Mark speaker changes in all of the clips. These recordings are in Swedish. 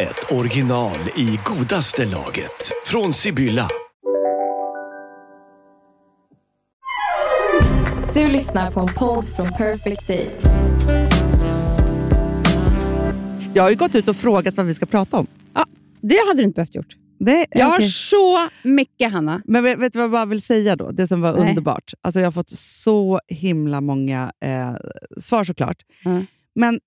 Speaker 1: ett original i godaste laget. Från Sibylla.
Speaker 2: Du lyssnar på en podd från Perfect Day.
Speaker 3: Jag har ju gått ut och frågat vad vi ska prata om.
Speaker 4: Det hade du inte behövt gjort.
Speaker 3: Det,
Speaker 4: Jag har
Speaker 3: okej.
Speaker 4: så mycket, Hanna.
Speaker 3: Men vet, vet du vad jag bara vill säga då? Det som var
Speaker 4: Nej.
Speaker 3: underbart. Alltså jag har fått så himla många eh, svar såklart.
Speaker 4: Ja.
Speaker 3: Men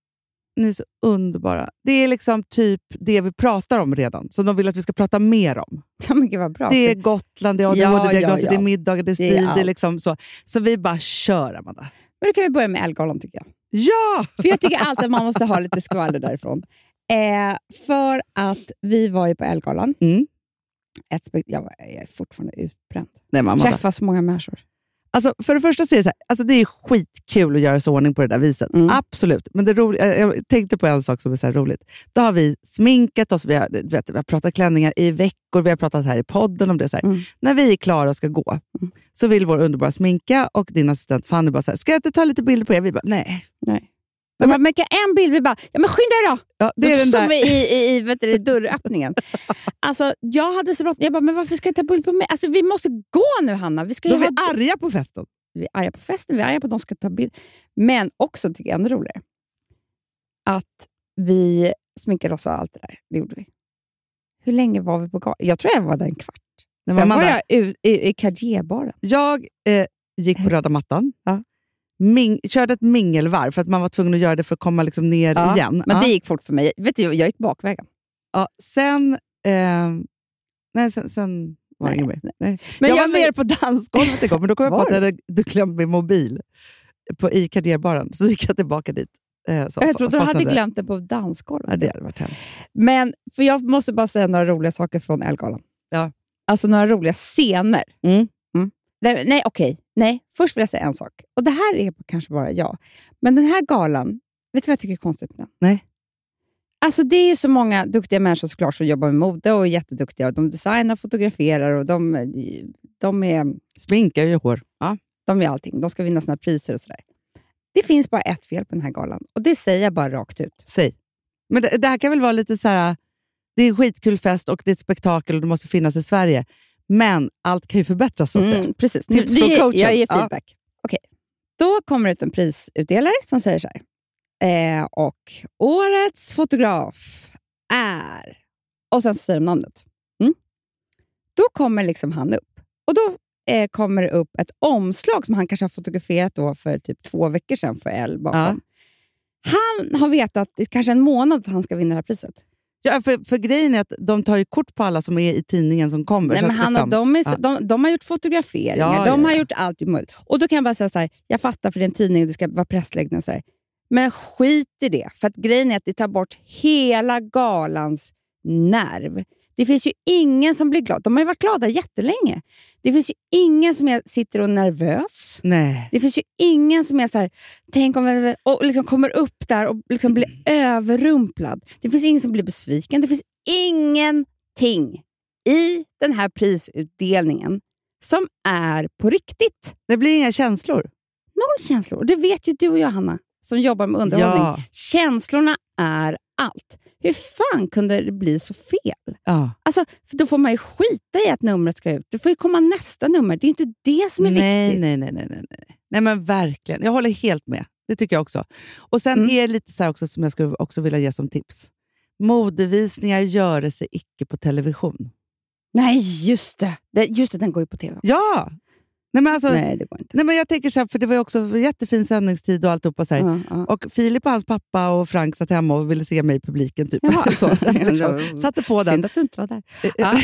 Speaker 3: ni är så underbara. Det är liksom typ det vi pratar om redan, som de vill att vi ska prata mer om.
Speaker 4: Ja, men gud vad bra.
Speaker 3: Det är Gotland, det är ADHD-diagnoser,
Speaker 4: ja, ja.
Speaker 3: det är middagar, det är
Speaker 4: Det är
Speaker 3: stil, det är
Speaker 4: allt.
Speaker 3: liksom så. Så vi bara kör, Amanda.
Speaker 4: Men då kan vi börja med älggalan tycker jag.
Speaker 3: Ja!
Speaker 4: För jag tycker alltid att man måste ha lite skvaller därifrån. Eh, för att vi var ju på älggalan.
Speaker 3: Mm.
Speaker 4: Ett spe- jag, var- jag är fortfarande utbränd.
Speaker 3: Nej, men Amanda.
Speaker 4: Träffa så många människor.
Speaker 3: Alltså, för det första så är det, så här, alltså det är skitkul att göra sig i ordning på det där viset.
Speaker 4: Mm.
Speaker 3: Absolut. Men det roliga, jag- jag tänkte på en sak som är så här roligt. Då har vi sminkat oss, vi har, du vet, vi har pratat klänningar i veckor, vi har pratat här i podden om det. Så här.
Speaker 4: Mm.
Speaker 3: När vi är klara och ska gå så vill vår underbara sminka och din assistent Fanny bara så här, ska jag inte ta lite bilder på er? Vi bara, nej.
Speaker 4: Nej. De bara, men kan en bild, vi bara, ja men skynda er då!
Speaker 3: Ja,
Speaker 4: Så
Speaker 3: det är den
Speaker 4: stod
Speaker 3: där.
Speaker 4: vi i, i, i vet du, dörröppningen. Alltså, jag hade så bråttom. Jag bara, men varför ska jag ta bild på mig? Alltså, vi måste gå nu Hanna. Vi ska
Speaker 3: Då
Speaker 4: ju
Speaker 3: är vi
Speaker 4: ha
Speaker 3: arga på festen.
Speaker 4: vi är arga på festen, vi är arga på att de ska ta bild. Men också, tycker jag ännu roligare, att vi sminkade oss och allt det där. Det gjorde vi. Hur länge var vi på galan? Jag tror jag var där en kvart.
Speaker 3: Nej, men
Speaker 4: Sen var
Speaker 3: Amanda,
Speaker 4: jag ut, i, i Cartier-baren.
Speaker 3: Jag eh, gick på röda mattan,
Speaker 4: Ja.
Speaker 3: Ming, körde ett mingelvarv för att man var tvungen att göra det för att komma liksom ner
Speaker 4: Ja,
Speaker 3: igen.
Speaker 4: Men
Speaker 3: Ja.
Speaker 4: det gick fort för mig. Vet du, jag gick bakvägen.
Speaker 3: Ja, sen... Eh, nej, sen, sen var det
Speaker 4: Nej,
Speaker 3: inget mer. Nej.
Speaker 4: Men
Speaker 3: jag,
Speaker 4: jag
Speaker 3: var nere på dansgolvet igår, men då kom jag på
Speaker 4: Var
Speaker 3: att jag hade du glömt min mobil på, i Carnerbaren, så gick jag tillbaka dit. Eh, så,
Speaker 4: Jag trodde du
Speaker 3: fastnade.
Speaker 4: hade glömt den på
Speaker 3: Ja,
Speaker 4: dansgolvet.
Speaker 3: det hade varit hemskt.
Speaker 4: Men för jag måste bara säga några roliga saker från Ellegalan.
Speaker 3: Ja.
Speaker 4: Alltså några roliga scener.
Speaker 3: Mm.
Speaker 4: Nej, nej okej. Nej, först vill jag säga en sak. Och Det här är kanske bara jag. Men den här galan, vet du vad jag tycker är konstigt med den?
Speaker 3: Nej.
Speaker 4: Alltså det är ju så många duktiga människor såklart som jobbar med mode och är jätteduktiga. De designar, fotograferar och de, de, är,
Speaker 3: Sminkar och hår. Ja.
Speaker 4: de är allting. De ska vinna sina priser och sådär. Det finns bara ett fel på den här galan och det säger jag bara rakt ut.
Speaker 3: Säg. Men det, det här kan väl vara lite så här... Det är en skitkul fest och det är ett spektakel och det måste finnas i Sverige. Men allt kan ju förbättras. Så att säga.
Speaker 4: Mm, precis.
Speaker 3: Tips
Speaker 4: Nu-
Speaker 3: från
Speaker 4: nu ger-
Speaker 3: coachen.
Speaker 4: Jag ger
Speaker 3: Ja.
Speaker 4: feedback. Okej. Då kommer det ut en prisutdelare som säger så här. Eh, och årets fotograf är... Och sen så säger de namnet. Mm. Då kommer liksom han upp. Och då eh, kommer det upp ett omslag som han kanske har fotograferat då för typ två veckor sedan för L. Bakom.
Speaker 3: Ja.
Speaker 4: Han har vetat i kanske en månad att han ska vinna det här priset.
Speaker 3: Ja, för, för grejen är att de tar ju kort på alla som är i tidningen som kommer.
Speaker 4: Nej,
Speaker 3: så
Speaker 4: men
Speaker 3: att
Speaker 4: han och
Speaker 3: liksom-
Speaker 4: de, är, så-
Speaker 3: ja.
Speaker 4: de, de har gjort fotograferingar,
Speaker 3: Ja,
Speaker 4: de
Speaker 3: ja,
Speaker 4: har
Speaker 3: ja.
Speaker 4: gjort allt möjligt. Och då kan jag bara säga så här, jag fattar för det är en tidning och det ska vara pressläggning och så här. Men skit i det, för att grejen är att det tar bort hela galans nerv. Det finns ju ingen som blir glad. De har ju varit glada jättelänge. Det finns ju ingen som är, sitter och är nervös.
Speaker 3: Nej.
Speaker 4: Det finns ju ingen som är så här, tänk om jag- och liksom kommer upp där och liksom blir överrumplad. Det finns ingen som blir besviken. Det finns ingenting i den här prisutdelningen som är på riktigt.
Speaker 3: Det blir inga känslor.
Speaker 4: Noll känslor. Och det vet ju du och jag, Hanna, som jobbar med underhållning.
Speaker 3: Ja.
Speaker 4: Känslorna är allt. Hur fan kunde det bli så fel?
Speaker 3: Ja.
Speaker 4: Alltså, för då får man ju skita i att numret ska ut. Det får ju komma nästa nummer. Det är inte det som är
Speaker 3: nej,
Speaker 4: viktigt.
Speaker 3: Nej, nej, nej, nej. nej. Nej, men verkligen. Jag håller helt med. Det tycker jag också. Och Sen
Speaker 4: Mm.
Speaker 3: är det lite så här också som jag skulle också vilja ge som tips. Modevisningar göre sig icke på television.
Speaker 4: Nej, just det. det. Just det, den går ju på tv.
Speaker 3: Ja! Nej, men alltså, nej.
Speaker 4: Nej, det går inte.
Speaker 3: men jag tänker så här, för det var ju också jättefin sändningstid och alltihopa. Så här.
Speaker 4: Ja, ja.
Speaker 3: Och Filip och hans pappa och Frank satt hemma och ville se mig i publiken. Typ.
Speaker 4: Jaha.
Speaker 3: så, liksom, satte på den.
Speaker 4: Synd att du inte var där.
Speaker 3: Ja.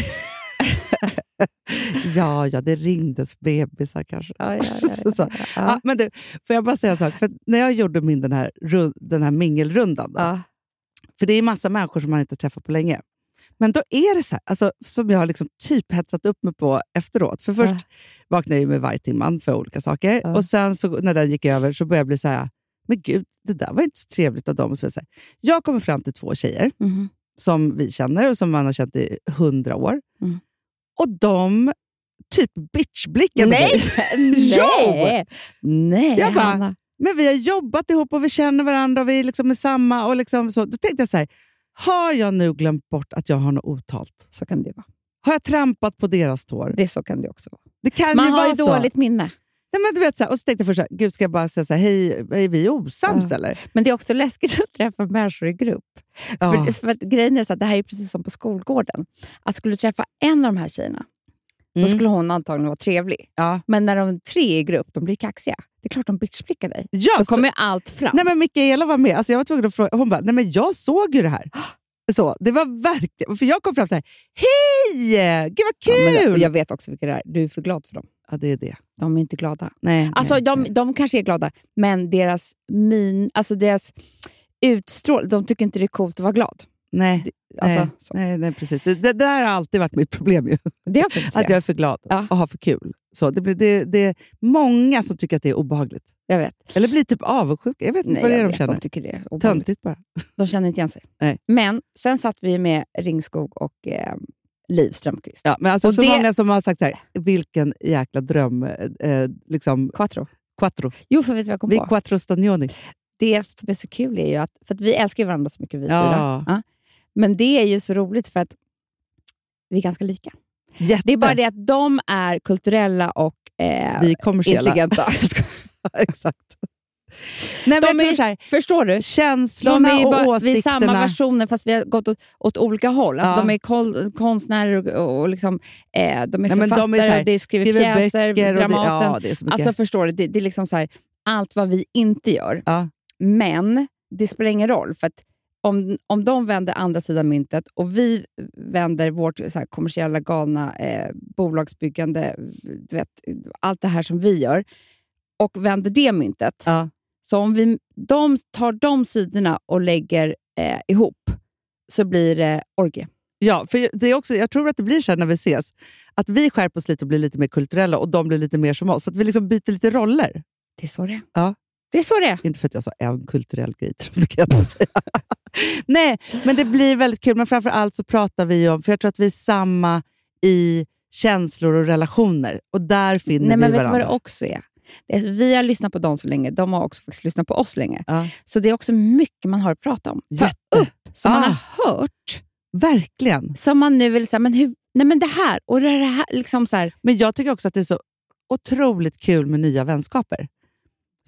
Speaker 3: ja, ja, det ringdes bebisar kanske. Så, så. Ja, Ah, men du, får jag bara säga en sak? För att när jag gjorde min den här, ru- den här mingelrundan, då,
Speaker 4: Ja.
Speaker 3: för det är massa människor som man inte träffat på länge, Men då är det så här, alltså, som jag har liksom typ hetsat upp mig på efteråt. För först vaknade jag ju med vargtimman för olika saker.
Speaker 5: Ja.
Speaker 3: Och sen så, när den gick över så började jag bli så här, men gud, det där var inte så trevligt av dem. Och så vidare. så här, jag kommer fram till två tjejer
Speaker 4: Mhm.
Speaker 3: som vi känner och som man har känt i hundra år.
Speaker 4: Mm.
Speaker 3: Och de typ bitchblickar på mig.
Speaker 4: Nej! Nej!
Speaker 3: Jag bara,
Speaker 4: Hanna.
Speaker 3: Men vi har jobbat ihop och vi känner varandra och vi liksom är samma. Och liksom så. Då tänkte jag så här, har jag nu glömt bort att jag har något otalt?
Speaker 4: Så kan det vara.
Speaker 3: Har jag trampat på deras tår?
Speaker 4: Det så kan det också vara.
Speaker 3: Det kan
Speaker 4: Man
Speaker 3: ju
Speaker 4: har
Speaker 3: vara
Speaker 4: ju
Speaker 3: så.
Speaker 4: dåligt minne.
Speaker 3: Nej, men du vet, så här, och så tänkte jag först, så här, gud ska jag bara säga så här, hej, är vi osams
Speaker 4: Ja.
Speaker 3: eller?
Speaker 4: Men det är också läskigt att träffa människor i grupp.
Speaker 3: Ja.
Speaker 4: För, för att grejen är så att det här är precis som på skolgården. Att skulle du träffa en av de här tjejerna,
Speaker 3: Mm.
Speaker 4: då skulle hon antagligen vara trevlig.
Speaker 3: Ja.
Speaker 4: Men när de tre är i grupp, de blir kaxiga. Det är klart de bitchblickar dig.
Speaker 3: Ja,
Speaker 4: Då
Speaker 3: så-
Speaker 4: kommer ju allt fram.
Speaker 3: Alltså- Nej, men Mikaela var med. Alltså, jag var tvungen att fråga. Hon bara, nej men jag såg ju det här. Så, det var verkligen... För jag kom fram så här, hej! Gud vad
Speaker 4: Ja, men
Speaker 3: kul! Ja,
Speaker 4: jag, jag vet också vilka det är. Du är för glad för dem.
Speaker 3: det är det.
Speaker 4: De är inte glada.
Speaker 3: Nej,
Speaker 4: Alltså,
Speaker 3: nej,
Speaker 4: de,
Speaker 3: nej.
Speaker 4: de kanske är glada, men deras min, alltså deras utstrålning, de tycker inte det är coolt att vara glad.
Speaker 3: Nej,
Speaker 4: Alltså,
Speaker 3: nej,
Speaker 4: så.
Speaker 3: nej, nej, precis. Det, det där har alltid varit mitt problem ju.
Speaker 4: Det har jag faktiskt
Speaker 3: Att jag är för glad
Speaker 4: Ja.
Speaker 3: och har för kul. Så, det, blir, det, det är många som tycker att det är obehagligt.
Speaker 4: jag vet.
Speaker 3: Eller blir typ avundsjuka. Jag vet inte
Speaker 4: Nej,
Speaker 3: vad det
Speaker 4: jag
Speaker 3: är de
Speaker 4: vet.
Speaker 3: känner.
Speaker 4: De tycker det är obehagligt.
Speaker 3: Töntigt bara.
Speaker 4: De känner inte igen sig.
Speaker 3: Nej.
Speaker 4: Men sen satt vi med Ringskog och eh, Liv Strömquist.
Speaker 3: Ja, men alltså,
Speaker 4: Och
Speaker 3: så
Speaker 4: det-
Speaker 3: många som har sagt så här, vilken jäkla dröm, eh, liksom,
Speaker 4: Quattro.
Speaker 3: quattro.
Speaker 4: Jo, för vet du vad jag kom
Speaker 3: Vi
Speaker 4: på?
Speaker 3: quattro stagioni.
Speaker 4: Det som är så kul är ju att, för att vi älskar ju varandra så mycket vi
Speaker 3: Ja.
Speaker 4: fyra. Ja. Men det är ju så roligt för att vi är ganska lika.
Speaker 3: Jätte.
Speaker 4: Det är bara det att de är kulturella och eh,
Speaker 3: Vi är kommersiella.
Speaker 4: intelligenta.
Speaker 3: Exakt. Nej, men
Speaker 4: De
Speaker 3: jag tror
Speaker 4: är-
Speaker 3: så här,
Speaker 4: Förstår du? De
Speaker 3: känslorna
Speaker 4: är ju
Speaker 3: och
Speaker 4: bara, vi är
Speaker 3: åsikterna.
Speaker 4: samma versioner fast vi har gått åt, åt olika håll. Alltså,
Speaker 3: Ja.
Speaker 4: De är kol, konstnärer och, och liksom, eh, de är
Speaker 3: Nej,
Speaker 4: författare,
Speaker 3: men de är så här,
Speaker 4: och det är skriver, pjäser,
Speaker 3: böcker och det-
Speaker 4: Dramaten.
Speaker 3: ja, det är så mycket.
Speaker 4: Alltså förstår du, det, det är liksom så här, allt vad vi inte gör.
Speaker 3: Ja.
Speaker 4: Men det spelar ingen roll, för att om, om de vänder andra sidan myntet och vi vänder vårt så här, kommersiella galna eh, bolagsbyggande, du vet, allt det här som vi gör, och vänder det myntet.
Speaker 3: Ja.
Speaker 4: Så om vi, de tar de sidorna och lägger eh, ihop så blir det orgie.
Speaker 3: Ja, för det är också, jag tror att det blir så här när vi ses, att vi skärper oss lite och blir lite mer kulturella och de blir lite mer som oss. Så att vi liksom byter lite roller.
Speaker 4: Det är så det är.
Speaker 3: Ja.
Speaker 4: Det är så det är.
Speaker 3: Inte för att jag sa en kulturell grej, det kan jag inte säga. Nej, men det blir väldigt kul. Men framför allt så pratar vi ju om, för jag tror att vi är samma i känslor och relationer. Och där finner
Speaker 4: Nej,
Speaker 3: vi
Speaker 4: men vet du
Speaker 3: varandra.
Speaker 4: vad det också är? Det är att Vi har lyssnat på dem så länge, de har också faktiskt lyssnat på oss länge.
Speaker 3: Ja.
Speaker 4: Så det är också mycket man har att prata om. Ta
Speaker 3: Jätte.
Speaker 4: upp som man
Speaker 3: Ah.
Speaker 4: har hört,
Speaker 3: Verkligen.
Speaker 4: som man nu vill säga, men hur, nej men det här och det här. Liksom så här
Speaker 3: Men jag tycker också att det är så otroligt kul med nya vänskaper.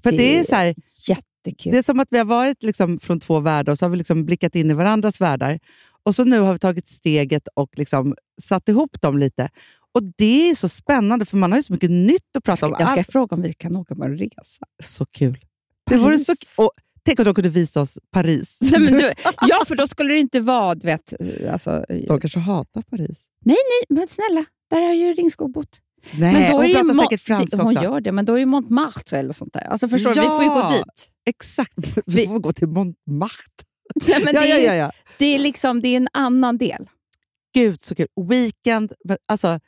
Speaker 3: För det,
Speaker 4: Det-
Speaker 3: är så här,
Speaker 4: jättekul.
Speaker 3: Det är som att vi har varit liksom från två världar och så har vi liksom blickat in i varandras världar. Och så nu har vi tagit steget och liksom satt ihop dem lite. Och Det är så spännande, för man har ju så mycket nytt att prata om.
Speaker 4: jag ska
Speaker 3: Allt-
Speaker 4: fråga om vi kan åka på en resa.
Speaker 3: Så kul. Det vore så
Speaker 4: Paris.
Speaker 3: och, tänk om de kunde visa oss Paris.
Speaker 4: Nej, men du, ja, för då skulle det inte vara, du vet, alltså,
Speaker 3: De kanske hatar Paris.
Speaker 4: men snälla, där har ju Ringskog bott.
Speaker 3: Nej,
Speaker 4: men då
Speaker 3: hon
Speaker 4: är det ju
Speaker 3: pratar
Speaker 4: Mo-
Speaker 3: säkert franska
Speaker 4: det, Hon
Speaker 3: också.
Speaker 4: gör det, men då är ju Montmartre eller sånt där. Alltså förstår du, vi får ju gå
Speaker 3: Ja.
Speaker 4: dit.
Speaker 3: Exakt. Vi
Speaker 4: Vi-
Speaker 3: får gå till Montmartre.
Speaker 4: Nej, men
Speaker 3: Ja,
Speaker 4: det,
Speaker 3: ja,
Speaker 4: är,
Speaker 3: ja, ja.
Speaker 4: det är liksom, det är en annan del.
Speaker 3: Gud, så kul. Weekend. Alltså,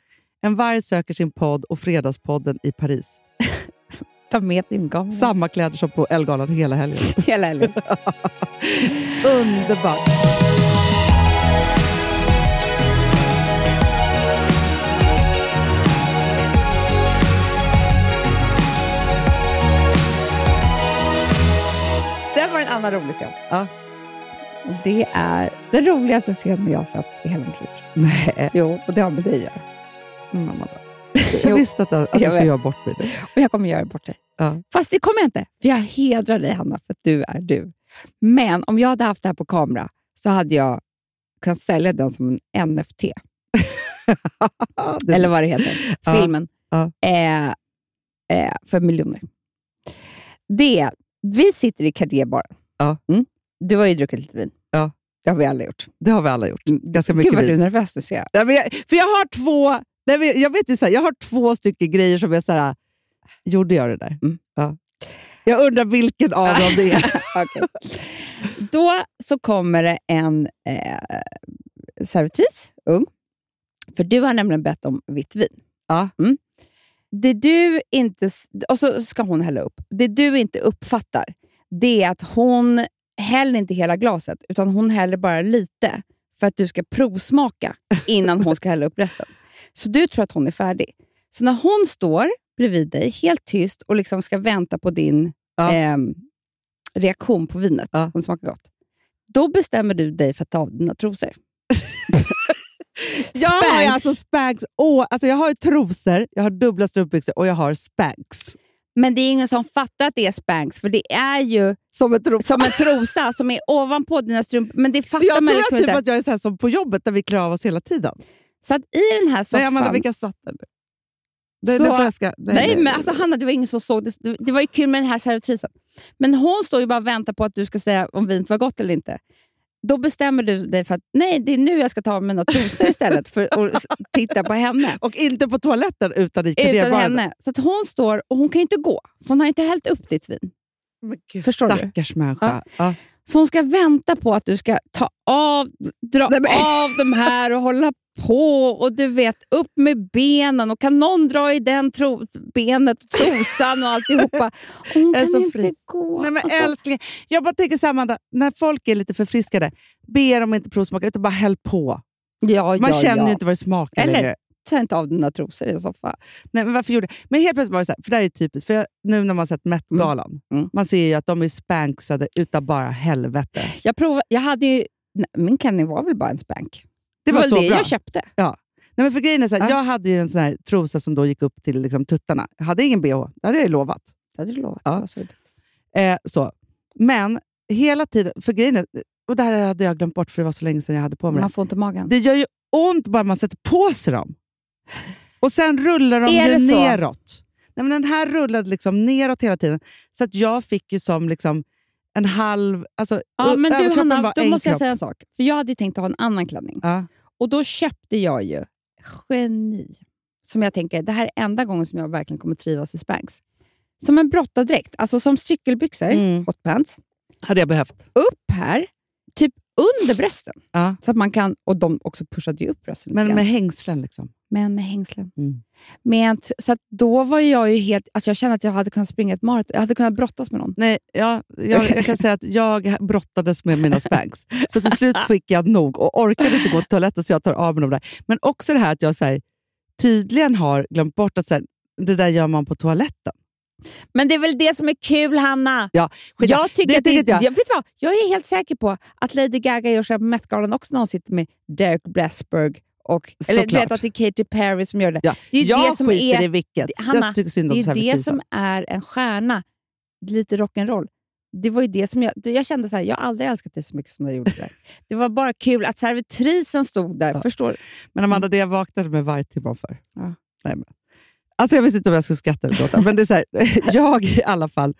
Speaker 3: en varg söker sin podd och Fredagspodden i Paris.
Speaker 4: Ta med filmkameran.
Speaker 3: Samma kläder som på Ellegalan hela helgen.
Speaker 4: Hela helgen.
Speaker 3: Underbart.
Speaker 4: Det var en annan rolig scen.
Speaker 3: Ja.
Speaker 4: Och Det är den roligaste scenen jag har sett i hela mitt liv. tror jag.
Speaker 3: Nej.
Speaker 4: Jo, och det har med dig att göra. Mm, mamma.
Speaker 3: Jag
Speaker 4: Jo.
Speaker 3: visste att, att du
Speaker 4: Jag
Speaker 3: skulle
Speaker 4: vet.
Speaker 3: göra bort mig. nu.
Speaker 4: Men jag kommer göra det bort dig.
Speaker 3: Ja.
Speaker 4: Fast det kommer jag inte, för jag hedrar dig Hanna, för att du är du. Men om jag hade haft det här på kamera så hade jag kunnat sälja den som en NFT,
Speaker 3: Ja, det-
Speaker 4: eller vad det heter,
Speaker 3: Ja,
Speaker 4: filmen,
Speaker 3: ja.
Speaker 4: Eh, eh, för miljoner. Det, vi sitter i Carré-baren.
Speaker 3: Ja.
Speaker 4: Mm. Du har ju druckit lite vin.
Speaker 3: Ja.
Speaker 4: Det har vi alla gjort.
Speaker 3: Det har vi alla gjort. Ganska mycket
Speaker 4: Mm. Gud vad du
Speaker 3: vin.
Speaker 4: är nervös nu ser jag.
Speaker 3: Nej, men jag, för jag har två nej, men jag vet ju så här, jag har två stycken grejer som är så här, gjorde jag det där?
Speaker 4: Mm.
Speaker 3: Ja. Jag undrar vilken av dem det är.
Speaker 4: Okej. Då så kommer det en eh, servitris, ung. För du har nämligen bett om vitt vin.
Speaker 3: Ja.
Speaker 4: Mm. Det du inte, s- och så ska hon hälla upp. Det du inte uppfattar, det är att hon häller inte hela glaset, utan hon häller bara lite för att du ska provsmaka innan hon ska hälla upp resten. Så du tror att hon är färdig. Så när hon står bredvid dig, helt tyst, och liksom ska vänta på din
Speaker 3: Ja.
Speaker 4: ehm, reaktion på vinet,
Speaker 3: Ja.
Speaker 4: om det smakar gott, då bestämmer du dig för att ta av dina trosor.
Speaker 3: Jag har ju
Speaker 4: Spanx.
Speaker 3: alltså Spanx. Åh, alltså jag har ju trosor, jag har dubbla strumpbyxor och jag har Spanx.
Speaker 4: Men det är ingen som fattar att det är Spanx, för det är ju
Speaker 3: Som en trosa.
Speaker 4: som en trosa som är ovanpå dina strumpor. Men det fattar
Speaker 3: jag
Speaker 4: man
Speaker 3: tror
Speaker 4: liksom
Speaker 3: typ
Speaker 4: inte.
Speaker 3: att jag är så här som på jobbet där vi klär av oss hela tiden.
Speaker 4: Så att i den här
Speaker 3: Nej,
Speaker 4: soffan...
Speaker 3: Amanda, vilka satt där nu? Nej,
Speaker 4: Så-
Speaker 3: nu får jag ska, nej,
Speaker 4: Nej, men alltså Hanna, det var ingen som såg det. Det var ju kul med den här servitrisen. Men hon står ju bara och väntar på att du ska säga om vinet var gott eller inte. Då bestämmer du dig för att nej, det är nu jag ska ta av mina trosor istället för att s- titta på henne.
Speaker 3: Och inte på toaletten utan i
Speaker 4: Utan
Speaker 3: kafébaren.
Speaker 4: henne. Så att hon står och hon kan ju inte gå, för hon har inte hällt upp ditt vin.
Speaker 3: Men gud,
Speaker 4: Förstår du?
Speaker 3: stackars människa. Ja.
Speaker 4: Så hon ska vänta på att du ska ta av, dra
Speaker 3: Nej, men-
Speaker 4: av de här och hålla på och du vet, upp med benen och kan någon dra i den tro, benet och trosan och alltihopa. Och Hon
Speaker 3: Jag är
Speaker 4: kan
Speaker 3: så
Speaker 4: inte
Speaker 3: fri.
Speaker 4: gå.
Speaker 3: Nej, men
Speaker 4: Alltså,
Speaker 3: älskling. Jag bara tänker så här, Amanda, när folk är lite förfriskade, be dem inte provsmaka utan bara häll på.
Speaker 4: ja,
Speaker 3: Man
Speaker 4: ja,
Speaker 3: känner
Speaker 4: ja.
Speaker 3: ju inte vad det smakar
Speaker 4: Eller?
Speaker 3: längre.
Speaker 4: Ta inte av dina trosor i en soffa.
Speaker 3: Nej, men varför gjorde Men helt plötsligt var det så här, för det här är typiskt, för jag, nu när man sett Met-galan,
Speaker 4: Mm.
Speaker 3: man ser ju att de är spanksade utan bara helvete.
Speaker 4: Jag, prov, jag hade ju... Nej, min Kenny var väl bara en spank.
Speaker 3: Det var
Speaker 4: väl
Speaker 3: så
Speaker 4: det
Speaker 3: bra.
Speaker 4: jag köpte.
Speaker 3: Nej, men för grejen är så här,
Speaker 4: Ja.
Speaker 3: jag hade ju en sån här trosa som då gick upp till liksom, tuttarna. Jag hade ingen bh, det hade jag ju lovat.
Speaker 4: Det hade du lovat.
Speaker 3: Ja.
Speaker 4: Det var så duktig.
Speaker 3: Eh, så. Men hela tiden, för grejen är, och det här hade jag glömt bort för det var så länge sedan jag hade på mig
Speaker 4: Man
Speaker 3: det.
Speaker 4: får inte magen.
Speaker 3: Det gör ju ont bara man sätter på sig dem. Och sen rullar de
Speaker 4: Är
Speaker 3: ju
Speaker 4: det så?
Speaker 3: neråt. Nej, men den här rullade liksom neråt hela tiden. Så att jag fick ju som liksom en halv... Alltså,
Speaker 4: ja,
Speaker 3: ö-
Speaker 4: men du,
Speaker 3: överkroppen
Speaker 4: Hanna,
Speaker 3: var
Speaker 4: då
Speaker 3: en
Speaker 4: måste jag
Speaker 3: kropp.
Speaker 4: säga en sak. För Jag hade ju tänkt att ha en annan klänning.
Speaker 3: Ja.
Speaker 4: Och då köpte jag ju Geni, som jag tänker, det här är enda gången som jag verkligen kommer trivas i Spanx. Som en brottardräkt, alltså som cykelbyxor,
Speaker 3: Mm.
Speaker 4: hotpants,
Speaker 3: Hade jag behövt.
Speaker 4: upp här, typ under brösten.
Speaker 3: Ja.
Speaker 4: Så att man kan, och de också pushade ju upp brösten lite
Speaker 3: Men
Speaker 4: grann.
Speaker 3: med hängslen liksom.
Speaker 4: men med hängslen.
Speaker 3: Mm.
Speaker 4: Med en t- så att då var jag ju helt, alltså jag kände att jag hade kunnat springa ett maraton, jag hade kunnat brottas med någon.
Speaker 3: Nej, ja, jag, jag kan säga att jag brottades med mina spanks. Så till slut fick jag nog och orkade inte gå till toaletten så jag tar av mig dem där. Men också det här att jag så här, tydligen har glömt bort att så här, det där gör man på toaletten.
Speaker 4: Men det är väl det som är kul, Hanna!
Speaker 3: Ja, skit-
Speaker 4: jag tycker
Speaker 3: det
Speaker 4: att det,
Speaker 3: tycker inte jag.
Speaker 4: jag. vet vad, jag är helt säker på att Lady Gaga gör så här på Met-galan också när hon sitter med Derek Blasberg. Och, eller du
Speaker 3: Såklart.
Speaker 4: vet att det är Katy Perry som gör det.
Speaker 3: Ja.
Speaker 4: Det är ju
Speaker 3: jag
Speaker 4: det som
Speaker 3: skiter
Speaker 4: är-
Speaker 3: i vilket.
Speaker 4: det- Hanna,
Speaker 3: jag tycker synd
Speaker 4: Det
Speaker 3: om
Speaker 4: är ju det
Speaker 3: servitrisen.
Speaker 4: som är en stjärna, lite rock'n'roll. Det var ju det som jag, jag kände så här, jag har aldrig älskat dig så mycket som jag gjorde där. Det var bara kul att servitrisen stod där.
Speaker 3: Ja.
Speaker 4: Förstår du?
Speaker 3: Men Amanda, det jag vaknade med varje timme för.
Speaker 4: Mm. Ja.
Speaker 3: Nej, men. Alltså jag visste inte om jag skulle skratta eller gråta, men det är så här, jag i alla fall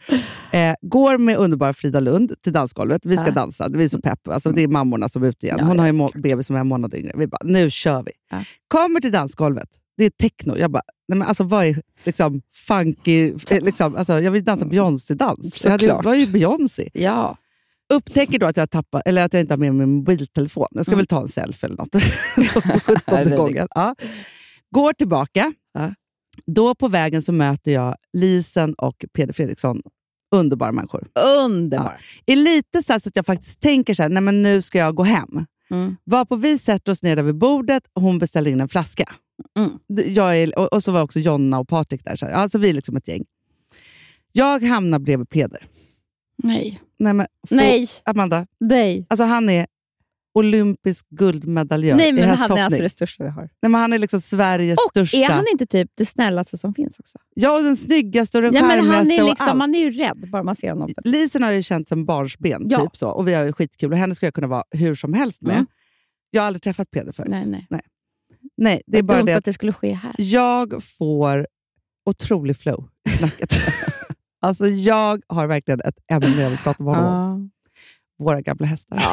Speaker 3: eh, går med underbara Frida Lund till dansgolvet. Vi ska
Speaker 4: Ja. Mm.
Speaker 3: dansa, vi är så pepp. Alltså, det är mammorna som är ute igen.
Speaker 4: Ja,
Speaker 3: Hon
Speaker 4: ja,
Speaker 3: har ju må- bebis som är en månad yngre. Vi bara, nu kör vi.
Speaker 4: Ja.
Speaker 3: Kommer till dansgolvet, det är techno. Jag bara, nej men alltså vad är liksom funky... eh, Liksom, alltså, jag vill dansa Beyoncé-dans. Jag hade-
Speaker 4: Mm. Såklart.
Speaker 3: var ju Beyoncé.
Speaker 4: Ja.
Speaker 3: Upptäcker då att jag, tappar, eller att jag inte har med mig min mobiltelefon. Jag ska
Speaker 4: Mm.
Speaker 3: väl ta en selfie eller något. Så på 17 gången. Ja. Går tillbaka.
Speaker 4: Ja.
Speaker 3: Då på vägen så möter jag Lisen och Peder Fredriksson. Underbara människor.
Speaker 4: Underbar.
Speaker 3: Är lite så, här så att jag faktiskt tänker så här, nej men nu ska jag gå hem.
Speaker 4: Mm.
Speaker 3: Var på vi sätter oss ner där vid bordet och hon beställer in en flaska.
Speaker 4: Mm.
Speaker 3: D- Jag är, och, och så var också Jonna och Patrik där. Så här. Alltså vi är liksom ett gäng. Jag hamnar bredvid Peder.
Speaker 4: Nej.
Speaker 3: Nej, men, få-
Speaker 4: Nej.
Speaker 3: Amanda,
Speaker 4: Nej.
Speaker 3: Alltså han är olympisk guldmedaljör
Speaker 4: Nej,
Speaker 3: i
Speaker 4: men han
Speaker 3: hästhoppning.
Speaker 4: är alltså det största vi har.
Speaker 3: Nej, men han är liksom Sveriges
Speaker 4: Och
Speaker 3: största.
Speaker 4: är han inte typ det snällaste som finns också?
Speaker 3: Ja, och den snyggaste och den
Speaker 4: Ja, men han,
Speaker 3: charmigaste
Speaker 4: är
Speaker 3: och
Speaker 4: liksom,
Speaker 3: allt.
Speaker 4: han är ju rädd bara man ser honom.
Speaker 3: Lisen har jag ju känt som barnsben,
Speaker 4: Ja.
Speaker 3: typ så. och vi har ju skitkul. Och henne skulle jag kunna vara hur som helst med.
Speaker 4: Mm.
Speaker 3: Jag har aldrig träffat Peder förut.
Speaker 4: Nej, nej.
Speaker 3: Nej, det är bara
Speaker 4: dumt
Speaker 3: det
Speaker 4: att
Speaker 3: att
Speaker 4: det skulle ske här.
Speaker 3: jag får otrolig flow i snacket. alltså jag har verkligen ett ämne jag vill prata med honom om. Våra gamla hästar.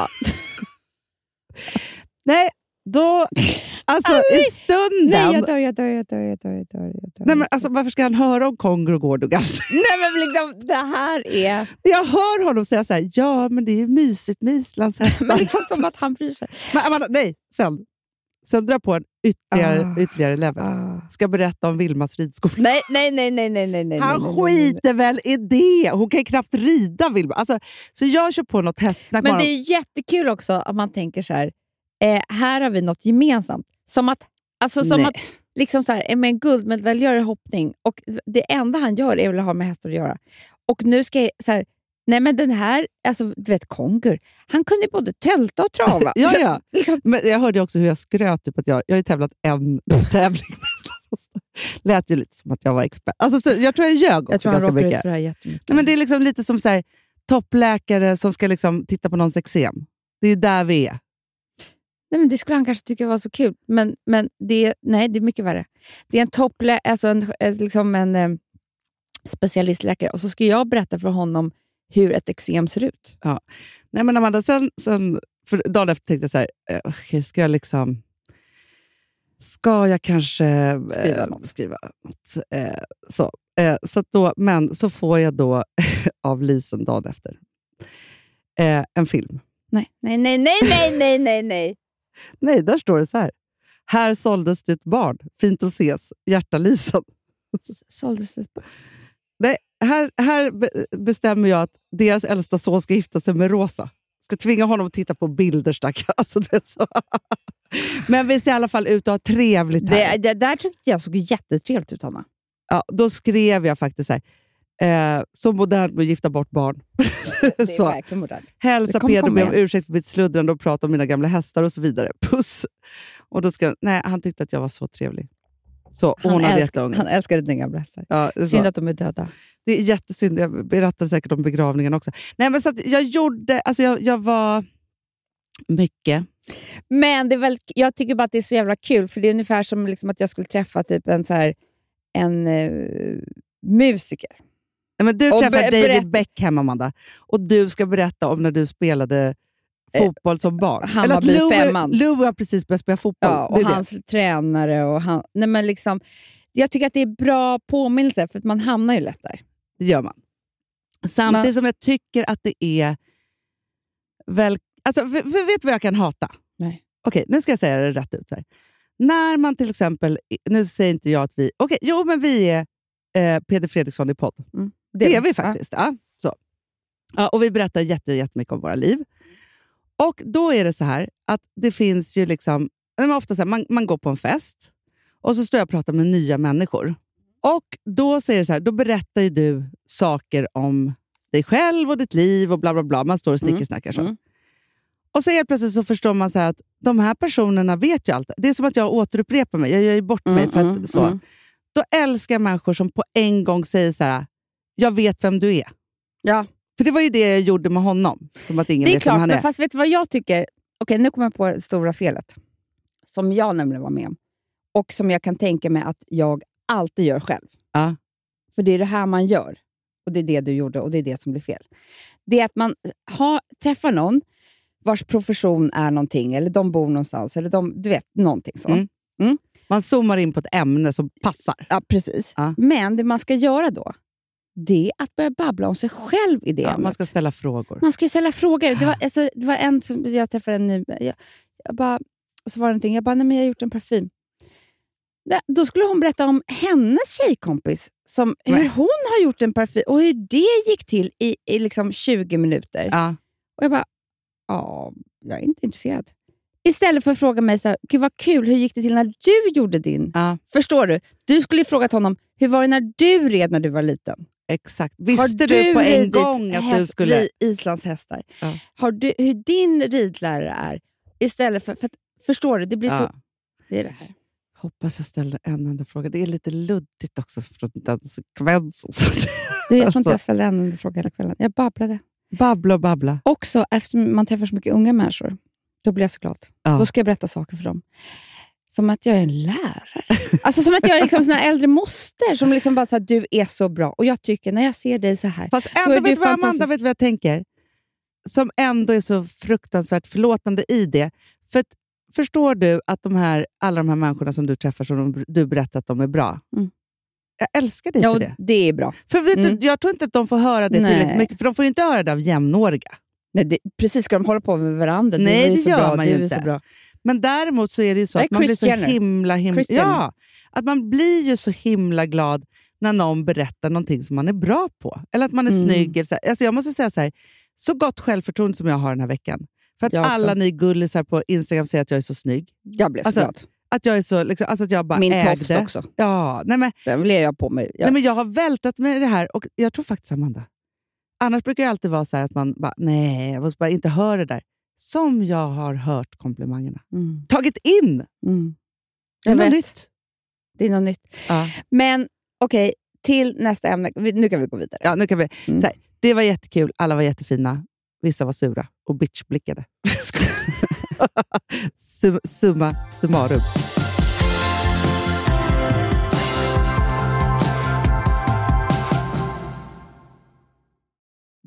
Speaker 3: Nej, då... Alltså i stunden.
Speaker 4: Nej,
Speaker 3: Nej,
Speaker 4: jag dör, jag dör, jag dör, jag dör, jag dör. Jag dör.
Speaker 3: men, alltså, varför ska han höra om Kongro Gordogans?
Speaker 4: Nej, men liksom, det här är...
Speaker 3: Jag hör honom säga så här, ja men det är ju mysigt med Islands hästar.
Speaker 4: Men liksom som att han bryr sig.
Speaker 3: Men Amanda, nej, sen. Sen drar på en ytterligare,
Speaker 4: Ah.
Speaker 3: ytterligare level. Ska berätta om Vilmas ridskola.
Speaker 4: Nej, nej, nej, nej, nej, nej, nej.
Speaker 3: Han
Speaker 4: nej, nej, nej, nej.
Speaker 3: skiter väl i det! Hon kan ju knappt rida Vilma. Alltså, så jag kör på något hästsnack
Speaker 4: Men
Speaker 3: bara.
Speaker 4: det är jättekul också att man tänker så här, eh, här har vi något gemensamt. Som att, alltså som
Speaker 3: Nej.
Speaker 4: att liksom så här, eh, med en guldmedaljör i hoppning och det enda han gör är väl att ha med hästar att göra. Och nu ska jag så här, nej men den här, alltså du vet Kongur, han kunde både tälta och trava.
Speaker 3: Ja,
Speaker 4: Så,
Speaker 3: ja.
Speaker 4: liksom,
Speaker 3: Men jag hörde också hur jag skröt typ att jag, jag har ju tävlat en tävling. med Islands hästar. lät ju lite som att jag var expert. Alltså, så jag tror jag ljög också
Speaker 4: jag tror han
Speaker 3: ganska
Speaker 4: råkar ut
Speaker 3: mycket.
Speaker 4: för det här jättemycket.
Speaker 3: Nej, men det är liksom lite som så här, toppläkare som ska liksom titta på någons eksem. Det är ju där vi är.
Speaker 4: Nej, men det skulle han kanske tycka var så kul, men, men det, nej, det är mycket värre. Det är en topplä, alltså en, eh, liksom en eh, specialistläkare och så ska jag berätta för honom hur ett eksem ser ut.
Speaker 3: Nej, men Amanda, sen, sen, för dagen efter tänkte jag så här, eh, okej, ska jag liksom... Ska jag kanske eh,
Speaker 4: Skriva något.
Speaker 3: skriva något? Eh, så. Eh, så att då, men så får jag då av Lisen dagen efter eh, en film.
Speaker 4: Nej, nej, nej, nej, nej, nej, nej, nej.
Speaker 3: Nej, där står det så här. Här såldes ditt barn. Fint att ses. Hjärta Lisen.
Speaker 4: Såldes det på-
Speaker 3: Nej, här, här be- bestämmer jag att deras äldsta son ska gifta sig med Rosa. Ska tvinga honom att titta på bilder, stackarn. Alltså, du vet så. Men vi ser i alla fall ut att ha trevligt här.
Speaker 4: det, det där tyckte jag såg jättetrevligt ut, Hanna.
Speaker 3: Ja, då skrev jag faktiskt så här. Eh, så modernt med att gifta bort barn.
Speaker 4: Det är
Speaker 3: så.
Speaker 4: verkligen modernt. Det
Speaker 3: Hälsa
Speaker 4: kommer
Speaker 3: Peder och
Speaker 4: komma
Speaker 3: be om
Speaker 4: igen.
Speaker 3: ursäkt för mitt sluddrande och prata om mina gamla hästar och så vidare. Puss! Och då skrev nej, han tyckte att jag var så trevlig. Så, och
Speaker 4: Han,
Speaker 3: hon hade
Speaker 4: älsk,
Speaker 3: jätteångest.
Speaker 4: han älskade dina gamla hästar.
Speaker 3: Ja, det är så.
Speaker 4: Synd att de är döda.
Speaker 3: Det är jättesynd. Jag berättade säkert om begravningen också. Nej, men så att jag gjorde... Alltså jag, jag var... Mycket.
Speaker 4: Men det är väl, jag tycker bara att det är så jävla kul, för det är ungefär som liksom att jag skulle träffa typ en, så här, en eh, musiker.
Speaker 3: Nej, men du
Speaker 4: Och
Speaker 3: träffade
Speaker 4: be-
Speaker 3: David
Speaker 4: berätt-
Speaker 3: Beckham, Amanda. Och du ska berätta om när du spelade fotboll som barn.
Speaker 4: Eh, han
Speaker 3: Eller
Speaker 4: var
Speaker 3: att
Speaker 4: bli
Speaker 3: Lou-
Speaker 4: femman.
Speaker 3: Lou har precis börjat spela fotboll.
Speaker 4: Ja,
Speaker 3: det
Speaker 4: och
Speaker 3: är det.
Speaker 4: hans tränare. Och han, nej men liksom, jag tycker att det är bra påminnelse, för att man hamnar ju lätt där.
Speaker 3: Det gör man. Samtidigt
Speaker 4: Men-
Speaker 3: som jag tycker att det är... Väl, alltså, v- v- vet du vad jag kan hata?
Speaker 4: Nej.
Speaker 3: Okej, nu ska jag säga det rätt ut. Så här. När man till exempel... Nu säger inte jag att vi... Okej, jo men vi är eh, Peder Fredriksson i podd. Det, är vi faktiskt. Ja. så. Ja, och vi berättar jätte, jättemycket om våra liv. Och då är det så här att det finns ju liksom... nej, men Ofta så här, man, man går på en fest och så står jag och pratar med nya människor. Och då säger det så här, då berättar ju du saker om dig själv och ditt liv och bla bla bla. Man står och snickersnackar så.
Speaker 4: Mm.
Speaker 3: Och så helt plötsligt så förstår man så här att de här personerna vet ju allt. Det är som att jag återupprepar mig. Jag gör ju bort
Speaker 4: Mm,
Speaker 3: mig. för att,
Speaker 4: mm,
Speaker 3: så.
Speaker 4: mm.
Speaker 3: Då älskar jag människor som på en gång säger så här, jag vet vem du är.
Speaker 4: Ja.
Speaker 3: För det var ju det jag gjorde med honom. Som att ingen
Speaker 4: Det är
Speaker 3: vet vem
Speaker 4: klart,
Speaker 3: han
Speaker 4: men
Speaker 3: är.
Speaker 4: fast vet du vad jag tycker? Okej, nu kommer jag på det stora felet. Som jag nämligen var med om. Och som jag kan tänka mig att jag alltid gör själv.
Speaker 3: Ja.
Speaker 4: För det är det här man gör. Och det är det du gjorde och det är det som blir fel. Det är att man har, träffar någon vars profession är någonting, eller de bor någonstans, eller de, du vet, någonting så.
Speaker 3: Mm. Man zoomar in på ett ämne som passar.
Speaker 4: Ja, precis.
Speaker 3: Ja.
Speaker 4: Men det man ska göra då, det är att börja babbla om sig själv i det
Speaker 3: Ja, man
Speaker 4: ämnet.
Speaker 3: ska ställa frågor.
Speaker 4: Man ska ju ställa frågor. Det var, alltså, det var en som jag träffade nu. Jag, jag bara, och så var det någonting. Jag bara, nej men jag har gjort en parfym. Nä, Då skulle hon berätta om hennes tjejkompis, som, hur
Speaker 3: Nej.
Speaker 4: hon har gjort en parfym och hur det gick till i, i liksom 20 minuter.
Speaker 3: Ja.
Speaker 4: Och jag bara, ja, jag är inte intresserad. Istället för att fråga mig, så här, gud vad kul, hur gick det till när du gjorde din?
Speaker 3: Ja.
Speaker 4: Förstår du? Du skulle ju frågat honom, hur var det när du red när du var liten?
Speaker 3: Exakt. Visste du, på en
Speaker 4: ridit
Speaker 3: gång att du
Speaker 4: häst-
Speaker 3: skulle...
Speaker 4: ri- islandshästar?
Speaker 3: Ja.
Speaker 4: Har du, hur din ridlärare är? Istället för, för att, förstår du, det blir så...
Speaker 3: Ja.
Speaker 4: Det är det här.
Speaker 3: Hoppas jag ställde en enda fråga. Det är lite luddigt också från den sekvensen.
Speaker 4: Du, jag tror
Speaker 3: Alltså.
Speaker 4: inte jag ställde en enda fråga hela kvällen. Jag babblade.
Speaker 3: babbla och babbla.
Speaker 4: Också eftersom man träffar så mycket unga människor, då blir jag så glad.
Speaker 3: Ja.
Speaker 4: Då ska jag berätta saker för dem. Som att jag är en lärare. Alltså som att jag är liksom sån här äldre moster som liksom bara säger du är så bra. Och jag tycker, när jag ser dig så här.
Speaker 3: Fast
Speaker 4: är
Speaker 3: ändå,
Speaker 4: det
Speaker 3: vet du vad Amanda,
Speaker 4: fantastiskt.
Speaker 3: vet du vad jag tänker? Som ändå är så fruktansvärt förlåtande i det. För att förstår du att de här, alla de här människorna som du träffar, som de, du berättar att de är bra.
Speaker 4: Mm.
Speaker 3: Jag älskar dig
Speaker 4: Ja,
Speaker 3: för
Speaker 4: och
Speaker 3: det.
Speaker 4: det är bra.
Speaker 3: För vet
Speaker 4: Mm.
Speaker 3: du, Jag tror inte att de får höra det
Speaker 4: Nej.
Speaker 3: tillräckligt mycket, för de får ju inte höra det av jämnåriga.
Speaker 4: Nej, det, precis, ska de hålla på med varandra?
Speaker 3: Nej,
Speaker 4: du
Speaker 3: det
Speaker 4: är så
Speaker 3: gör
Speaker 4: bra,
Speaker 3: man
Speaker 4: du
Speaker 3: ju
Speaker 4: är
Speaker 3: inte.
Speaker 4: Så bra.
Speaker 3: Men däremot så är det ju så
Speaker 4: Nej,
Speaker 3: att man blir
Speaker 4: Kris
Speaker 3: så
Speaker 4: Jenner.
Speaker 3: himla, himla,
Speaker 4: Kris Jenner.
Speaker 3: ja, att man blir ju så himla glad när någon berättar någonting som man är bra på. Eller att man är
Speaker 4: Mm.
Speaker 3: snygg. Eller så här. Alltså jag måste säga så här, så gott självförtroende som jag har den här veckan. För att
Speaker 4: Jag också.
Speaker 3: alla ni gullisar på Instagram säger att jag är så snygg.
Speaker 4: Jag blev så
Speaker 3: Alltså,
Speaker 4: glad.
Speaker 3: Att jag är så, liksom, alltså att jag bara
Speaker 4: Min
Speaker 3: ägde.
Speaker 4: tofs också.
Speaker 3: Ja, nej men,
Speaker 4: Den blev jag på mig. Jag,
Speaker 3: Nej, men jag har vältrat mig i det här och jag tror faktiskt Amanda. Annars brukar det alltid vara så här att man bara, nej, jag måste bara inte höra det där. Som jag har hört komplimangerna.
Speaker 4: mm,
Speaker 3: Tagit in!
Speaker 4: mm.
Speaker 3: Det är
Speaker 4: Jag
Speaker 3: något
Speaker 4: vet.
Speaker 3: nytt.
Speaker 4: Det är något nytt.
Speaker 3: Ja.
Speaker 4: Men okej, till nästa ämne. Vi- Nu kan vi gå vidare.
Speaker 3: Ja, nu kan vi.
Speaker 4: Mm.
Speaker 3: Så här, det var jättekul, alla var jättefina. Vissa var sura och bitchblickade. Skojar. Sum, summa summarum.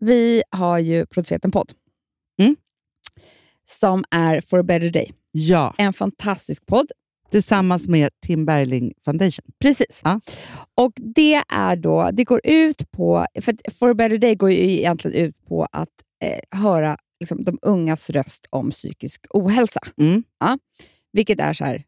Speaker 4: Vi har ju producerat en podd
Speaker 3: Mm.
Speaker 4: som är For a better day.
Speaker 3: Ja.
Speaker 4: En fantastisk podd
Speaker 3: Tillsammans med Tim Bergling Foundation.
Speaker 4: Precis.
Speaker 3: Ja.
Speaker 4: Och det är då, det går ut på, för att For a better day går ju egentligen ut på att eh, höra liksom, de ungas röst om psykisk ohälsa.
Speaker 3: Mm.
Speaker 4: Vilket är så här,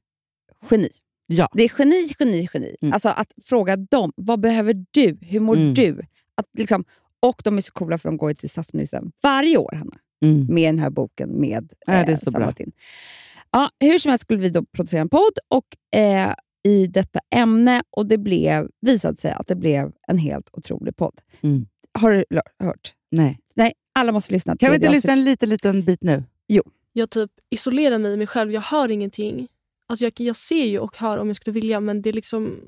Speaker 4: geni.
Speaker 3: Ja.
Speaker 4: Det är geni, geni, geni.
Speaker 3: Mm.
Speaker 4: Alltså att fråga dem, vad behöver du? Hur mår
Speaker 3: Mm.
Speaker 4: du? Att, liksom, och de är så coola för de går ju till statsministern varje år, Hanna
Speaker 3: Mm.
Speaker 4: med den här boken med
Speaker 3: Ja, det är så bra.
Speaker 4: samlat in. Ja, hur som helst skulle vi då producera en podd och, eh, i detta ämne och det blev, visade sig att det blev en helt otrolig podd.
Speaker 3: Mm.
Speaker 4: Har du l- hört?
Speaker 3: Nej.
Speaker 4: Nej, alla måste lyssna.
Speaker 3: Kan vi
Speaker 4: tredje
Speaker 3: inte lyssna
Speaker 4: avsnitt.
Speaker 3: en liten, liten bit nu?
Speaker 6: Jag typ isolerar mig i mig själv. Jag hör ingenting. Alltså jag, jag ser ju och hör om jag skulle vilja, men det, är liksom,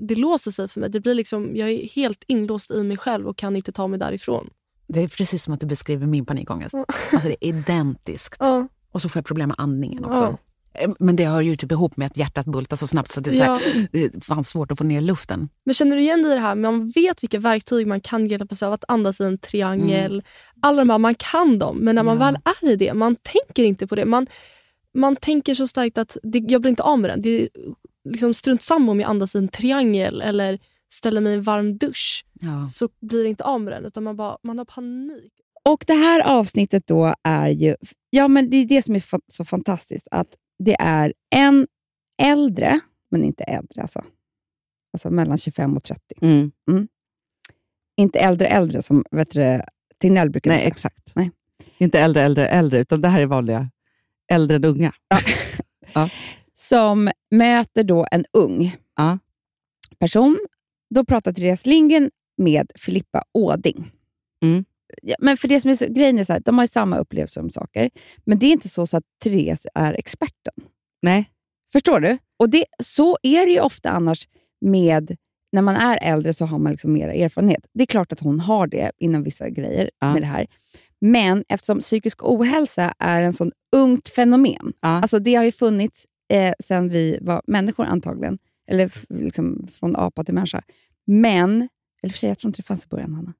Speaker 6: det låser sig för mig. Det blir liksom, jag är helt inlåst i mig själv och kan inte ta mig därifrån.
Speaker 7: Det är precis som att du beskriver min panikångest.
Speaker 6: Mm.
Speaker 7: Alltså det är identiskt.
Speaker 8: Mm.
Speaker 6: Ja,
Speaker 7: Och så får jag problem med andningen också. Eh, Men det hör ju typ ihop med att hjärtat bultar så snabbt så det är, så här,
Speaker 6: ja.
Speaker 7: det är fan svårt att få ner luften.
Speaker 6: Men känner du igen dig i det här? Man vet vilka verktyg man kan hjälpa sig av. Att andas i en triangel. Alla de här, man kan dem. Men när man
Speaker 7: Mm. Ja.
Speaker 6: väl är i det, man tänker inte på det. Man, man tänker så starkt att det, jag blir inte av med den. Det är liksom strunt samma om jag andas i en triangel eller ställer mig i en varm dusch.
Speaker 7: Ja.
Speaker 6: så blir det inte av med den, utan man, bara, man har panik.
Speaker 4: Och det här avsnittet då är ju, ja men det är det som är fa- så fantastiskt, att det är en äldre, men inte äldre alltså, alltså mellan 25 och 30. Inte äldre äldre som vet du, Tegnell brukar
Speaker 3: Nej,
Speaker 4: säga.
Speaker 3: exakt.
Speaker 4: Nej.
Speaker 3: Inte äldre, äldre, äldre, utan det här är vanliga äldre än unga.
Speaker 4: som möter då en ung
Speaker 3: Ja.
Speaker 4: person. Då pratar Therese Lindgren med Filippa Åding.
Speaker 3: Mm.
Speaker 4: Ja, men för det som är så, grejen är så här, de har ju samma upplevelse om saker, men det är inte så, så att Therese är experten.
Speaker 3: Nej.
Speaker 4: Förstår du? Och det, Så är det ju ofta annars med när man är äldre så har man liksom mera erfarenhet. Det är klart att hon har det inom vissa grejer
Speaker 3: Ja.
Speaker 4: med det här. Men eftersom psykisk ohälsa är en sån ungt fenomen.
Speaker 3: Ja.
Speaker 4: Alltså det har ju funnits eh, sedan vi var människor antagligen. Eller f- liksom från apa till människa. Men, eller för sig, jag tror inte det fanns i början Hanna.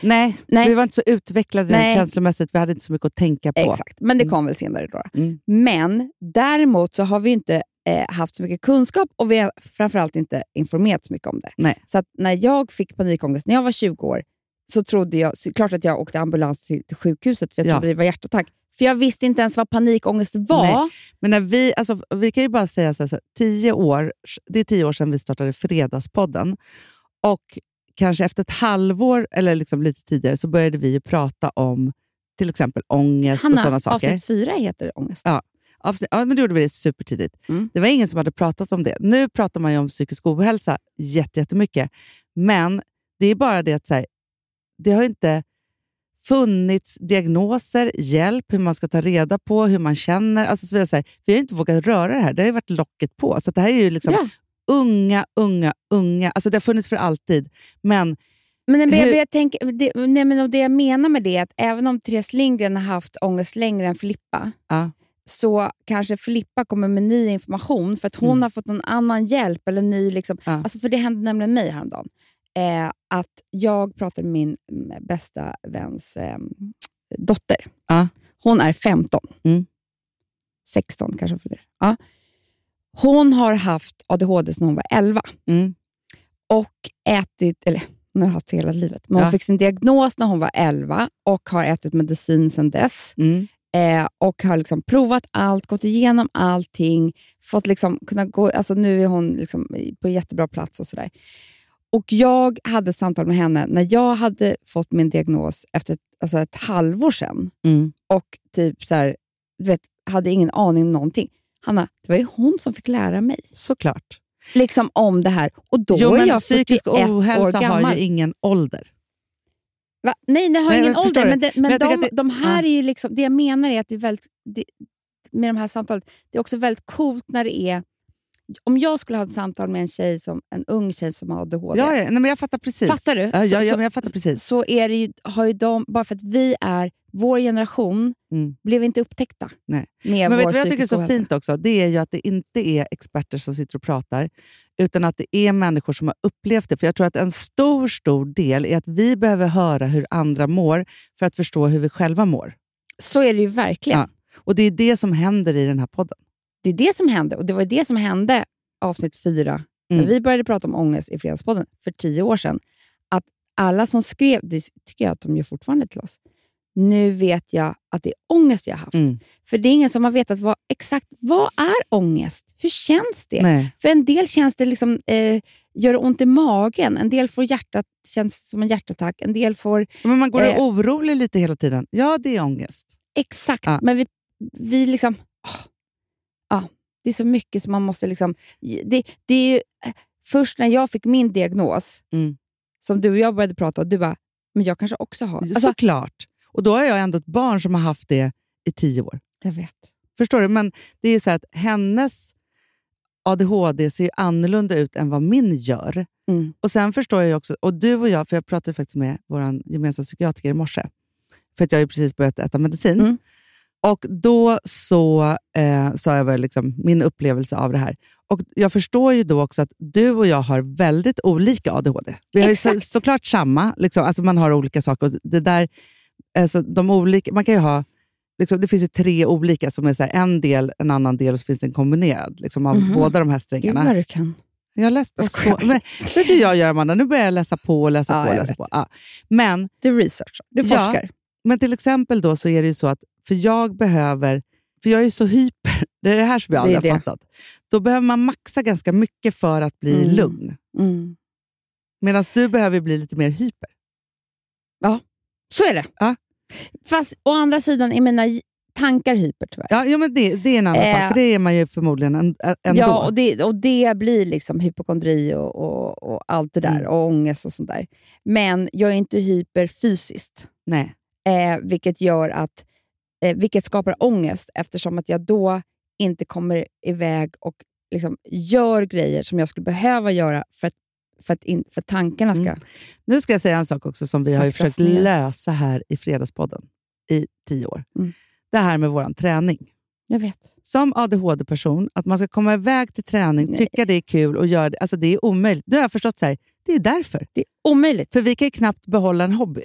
Speaker 3: Nej.
Speaker 4: Nej.
Speaker 3: vi var inte så utvecklade rent
Speaker 4: Nej.
Speaker 3: känslomässigt. Vi hade inte så mycket att tänka på.
Speaker 4: Exakt, men det kom väl senare då.
Speaker 3: Mm.
Speaker 4: Men däremot så har vi inte eh, haft så mycket kunskap och vi har framförallt inte informerat så mycket om det.
Speaker 3: Nej.
Speaker 4: Så att när jag fick panikångest när jag var 20 år så trodde jag, så klart att jag åkte ambulans till, till sjukhuset för jag
Speaker 3: Ja.
Speaker 4: trodde det var hjärtattack. För jag visste inte ens vad panikångest var.
Speaker 3: Men när vi, alltså, vi kan ju bara säga så här, så här, tio år, det är tio år sedan vi startade Fredagspodden. Och kanske efter ett halvår, eller liksom lite tidigare, så började vi ju prata om till exempel ångest och sådana
Speaker 4: Hanna,
Speaker 3: saker.
Speaker 4: avsnitt fyra heter ångest.
Speaker 3: Avsnitt, ja, men det gjorde vi supertidigt.
Speaker 4: Mm.
Speaker 3: Det var ingen som hade pratat om det. Nu pratar man ju om psykisk ohälsa jätte- jättemycket. Men det är bara det att så här, det har inte funnits diagnoser, hjälp, hur man ska ta reda på, hur man känner. Alltså så vidare, så här, vi har inte vågat röra det här. Det har ju varit locket på. Så att det här är ju liksom
Speaker 4: Ja.
Speaker 3: unga, unga, unga. Alltså det har funnits för alltid. Men
Speaker 4: Men, nej, men, jag,
Speaker 3: Hur-
Speaker 4: men jag tänker, det, nej, men och det jag menar med det är att även om Therese Lindgren har haft ångest längre än Filippa,
Speaker 3: Ja.
Speaker 4: så kanske Filippa kommer med ny information för att hon
Speaker 3: Mm.
Speaker 4: har fått någon annan hjälp. Eller ny, liksom,
Speaker 3: Ja.
Speaker 4: alltså, för det hände nämligen mig häromdagen. Eh, att jag pratade med min mm, bästa väns eh, dotter.
Speaker 3: Ja.
Speaker 4: Hon är 15.
Speaker 3: Mm.
Speaker 4: 16 kanske hon fyller. Ja. Hon har haft ADHD sedan hon var 11
Speaker 3: mm,
Speaker 4: och ätit, eller hon har haft hela livet, men hon
Speaker 3: Ja.
Speaker 4: fick sin diagnos när hon var 11 och har ätit medicin sedan dess.
Speaker 3: mm,
Speaker 4: Eh, och har liksom provat allt, gått igenom allting. Fått liksom kunna gå, alltså nu är hon liksom i- på en jättebra plats och sådär. Och jag hade samtal med henne när jag hade fått min diagnos efter ett, alltså ett halvår sedan.
Speaker 3: Mm.
Speaker 4: Och typ så här, du vet, hade ingen aning om någonting. Hanna, det var ju hon som fick lära mig
Speaker 3: Såklart.
Speaker 4: liksom om det här. Och då
Speaker 3: jo,
Speaker 4: är
Speaker 3: men
Speaker 4: jag 41
Speaker 3: psykisk ohälsa
Speaker 4: år gammal.
Speaker 3: har ju ingen ålder.
Speaker 4: Va? Nej, det har
Speaker 3: Nej,
Speaker 4: ingen
Speaker 3: jag förstår
Speaker 4: ålder.
Speaker 3: det.
Speaker 4: Men, det, men,
Speaker 3: Men jag tycker
Speaker 4: de,
Speaker 3: att det-
Speaker 4: de här
Speaker 3: ja.
Speaker 4: är ju liksom, det jag menar är att det är väldigt, det, med de här samtalet, det är också väldigt coolt när det är... Om jag skulle ha ett samtal med en, tjej som, en ung tjej som har
Speaker 3: Ja,
Speaker 4: ADHD,
Speaker 3: ja, nej, men jag fattar precis.
Speaker 4: Fattar du?
Speaker 3: Ja,
Speaker 4: Så-
Speaker 3: ja, ja,
Speaker 4: så-
Speaker 3: men jag fattar precis.
Speaker 4: så är det ju, har ju de, bara för att vi är, vår generation,
Speaker 3: Mm.
Speaker 4: blev inte upptäckta
Speaker 3: Nej. Men
Speaker 4: med vår
Speaker 3: vet du vad jag tycker är så
Speaker 4: psykiska ohälsa.
Speaker 3: fint också? Det är ju att det inte är experter som sitter och pratar, utan att det är människor som har upplevt det. För jag tror att en stor, stor del är att vi behöver höra hur andra mår för att förstå hur vi själva mår.
Speaker 4: Så är det ju verkligen.
Speaker 3: Ja. Och det är det som händer i den här podden.
Speaker 4: Det är det som hände, och det var det som hände avsnitt fyra
Speaker 3: Mm.
Speaker 4: När vi började prata om ångest i Fredagspodden för tio år sedan, att alla som skrev, det tycker jag att de gör fortfarande till oss, nu vet jag att det är ångest jag har haft.
Speaker 3: Mm.
Speaker 4: För det är ingen som har vetat vad, exakt vad är ångest? Hur känns det?
Speaker 3: Nej.
Speaker 4: För en del känns det liksom, eh, gör det ont i magen, en del får hjärtat, känns som en hjärtattack, en del får
Speaker 3: Men man går och är
Speaker 4: Eh.
Speaker 3: orolig lite hela tiden. Ja, det är ångest.
Speaker 4: Exakt,
Speaker 3: Ja.
Speaker 4: men vi, vi liksom... åh, ja, det är så mycket som man måste... liksom... Det, det är ju, eh, först när jag fick min diagnos,
Speaker 3: Mm.
Speaker 4: som du och jag började prata och du bara, men jag kanske också har... Alltså,
Speaker 3: Såklart. Och då har jag ändå ett barn som har haft det i tio år.
Speaker 4: jag vet.
Speaker 3: Förstår du? Men det är så här att hennes ADHD ser ju annorlunda ut än vad min gör.
Speaker 4: Mm.
Speaker 3: Och sen förstår jag ju också, och du och jag, för jag pratade faktiskt med vår gemensamma psykiatriker i morse, för att jag har ju precis börjat äta medicin.
Speaker 4: Mm.
Speaker 3: Och då så eh, sa jag väl liksom min upplevelse av det här. Och Jag förstår ju då också att du och jag har väldigt olika ADHD. Vi har ju så,
Speaker 4: Exakt.
Speaker 3: såklart samma, liksom, alltså man har olika saker. Och det där, alltså de olika, man kan ju ha, liksom, det finns ju tre olika som är så här, en del, en annan del och så finns det en kombinerad liksom, av
Speaker 4: Mhm.
Speaker 3: båda de här
Speaker 4: Gud
Speaker 3: strängarna.
Speaker 4: vad du kan.
Speaker 3: Jag har läst på.
Speaker 4: Jag skojar.
Speaker 3: Så, men, vet du hur jag gör, Amanda? Nu börjar jag läsa på och läsa
Speaker 4: Ja,
Speaker 3: på. Och
Speaker 4: jag
Speaker 3: läsa
Speaker 4: vet.
Speaker 3: på. Ja. Men,
Speaker 4: Du researchar, du
Speaker 3: Ja.
Speaker 4: forskar.
Speaker 3: men till exempel då så är det ju så att, för jag behöver, för jag är ju så hyper, det är det här som jag
Speaker 4: Det är
Speaker 3: aldrig har
Speaker 4: det.
Speaker 3: fattat. Då behöver man maxa ganska mycket för att bli
Speaker 4: Mm.
Speaker 3: lugn.
Speaker 4: Mm.
Speaker 3: Medan du behöver bli lite mer hyper.
Speaker 4: Så är det.
Speaker 3: Ja.
Speaker 4: Fast å andra sidan är mina j- tankar hyper tyvärr.
Speaker 3: Ja, ja men det, det är en annan
Speaker 4: Eh.
Speaker 3: sak, för det är man ju förmodligen en, ä- ändå.
Speaker 4: Ja, och det, och det blir liksom hypokondri och, och, och allt det där.
Speaker 3: Mm.
Speaker 4: Och ångest och sånt där. Men jag är inte hyper fysiskt,
Speaker 3: Nej.
Speaker 4: eh, vilket, gör att, eh, vilket skapar ångest eftersom att jag då inte kommer iväg och liksom gör grejer som jag skulle behöva göra för att, för att, in, för att tankarna ska...
Speaker 3: Mm. Nu ska jag säga en sak också som vi har ju
Speaker 4: Saktas
Speaker 3: försökt
Speaker 4: ner.
Speaker 3: lösa här i Fredagspodden i tio år.
Speaker 4: Mm.
Speaker 3: Det här med vår träning.
Speaker 4: Jag vet.
Speaker 3: som ADHD-person, att man ska komma iväg till träning,
Speaker 4: Nej.
Speaker 3: tycka det är kul och göra det. Alltså det är omöjligt. Nu har jag förstått så här, det är därför.
Speaker 4: Det är omöjligt.
Speaker 3: För vi kan ju knappt behålla en hobby.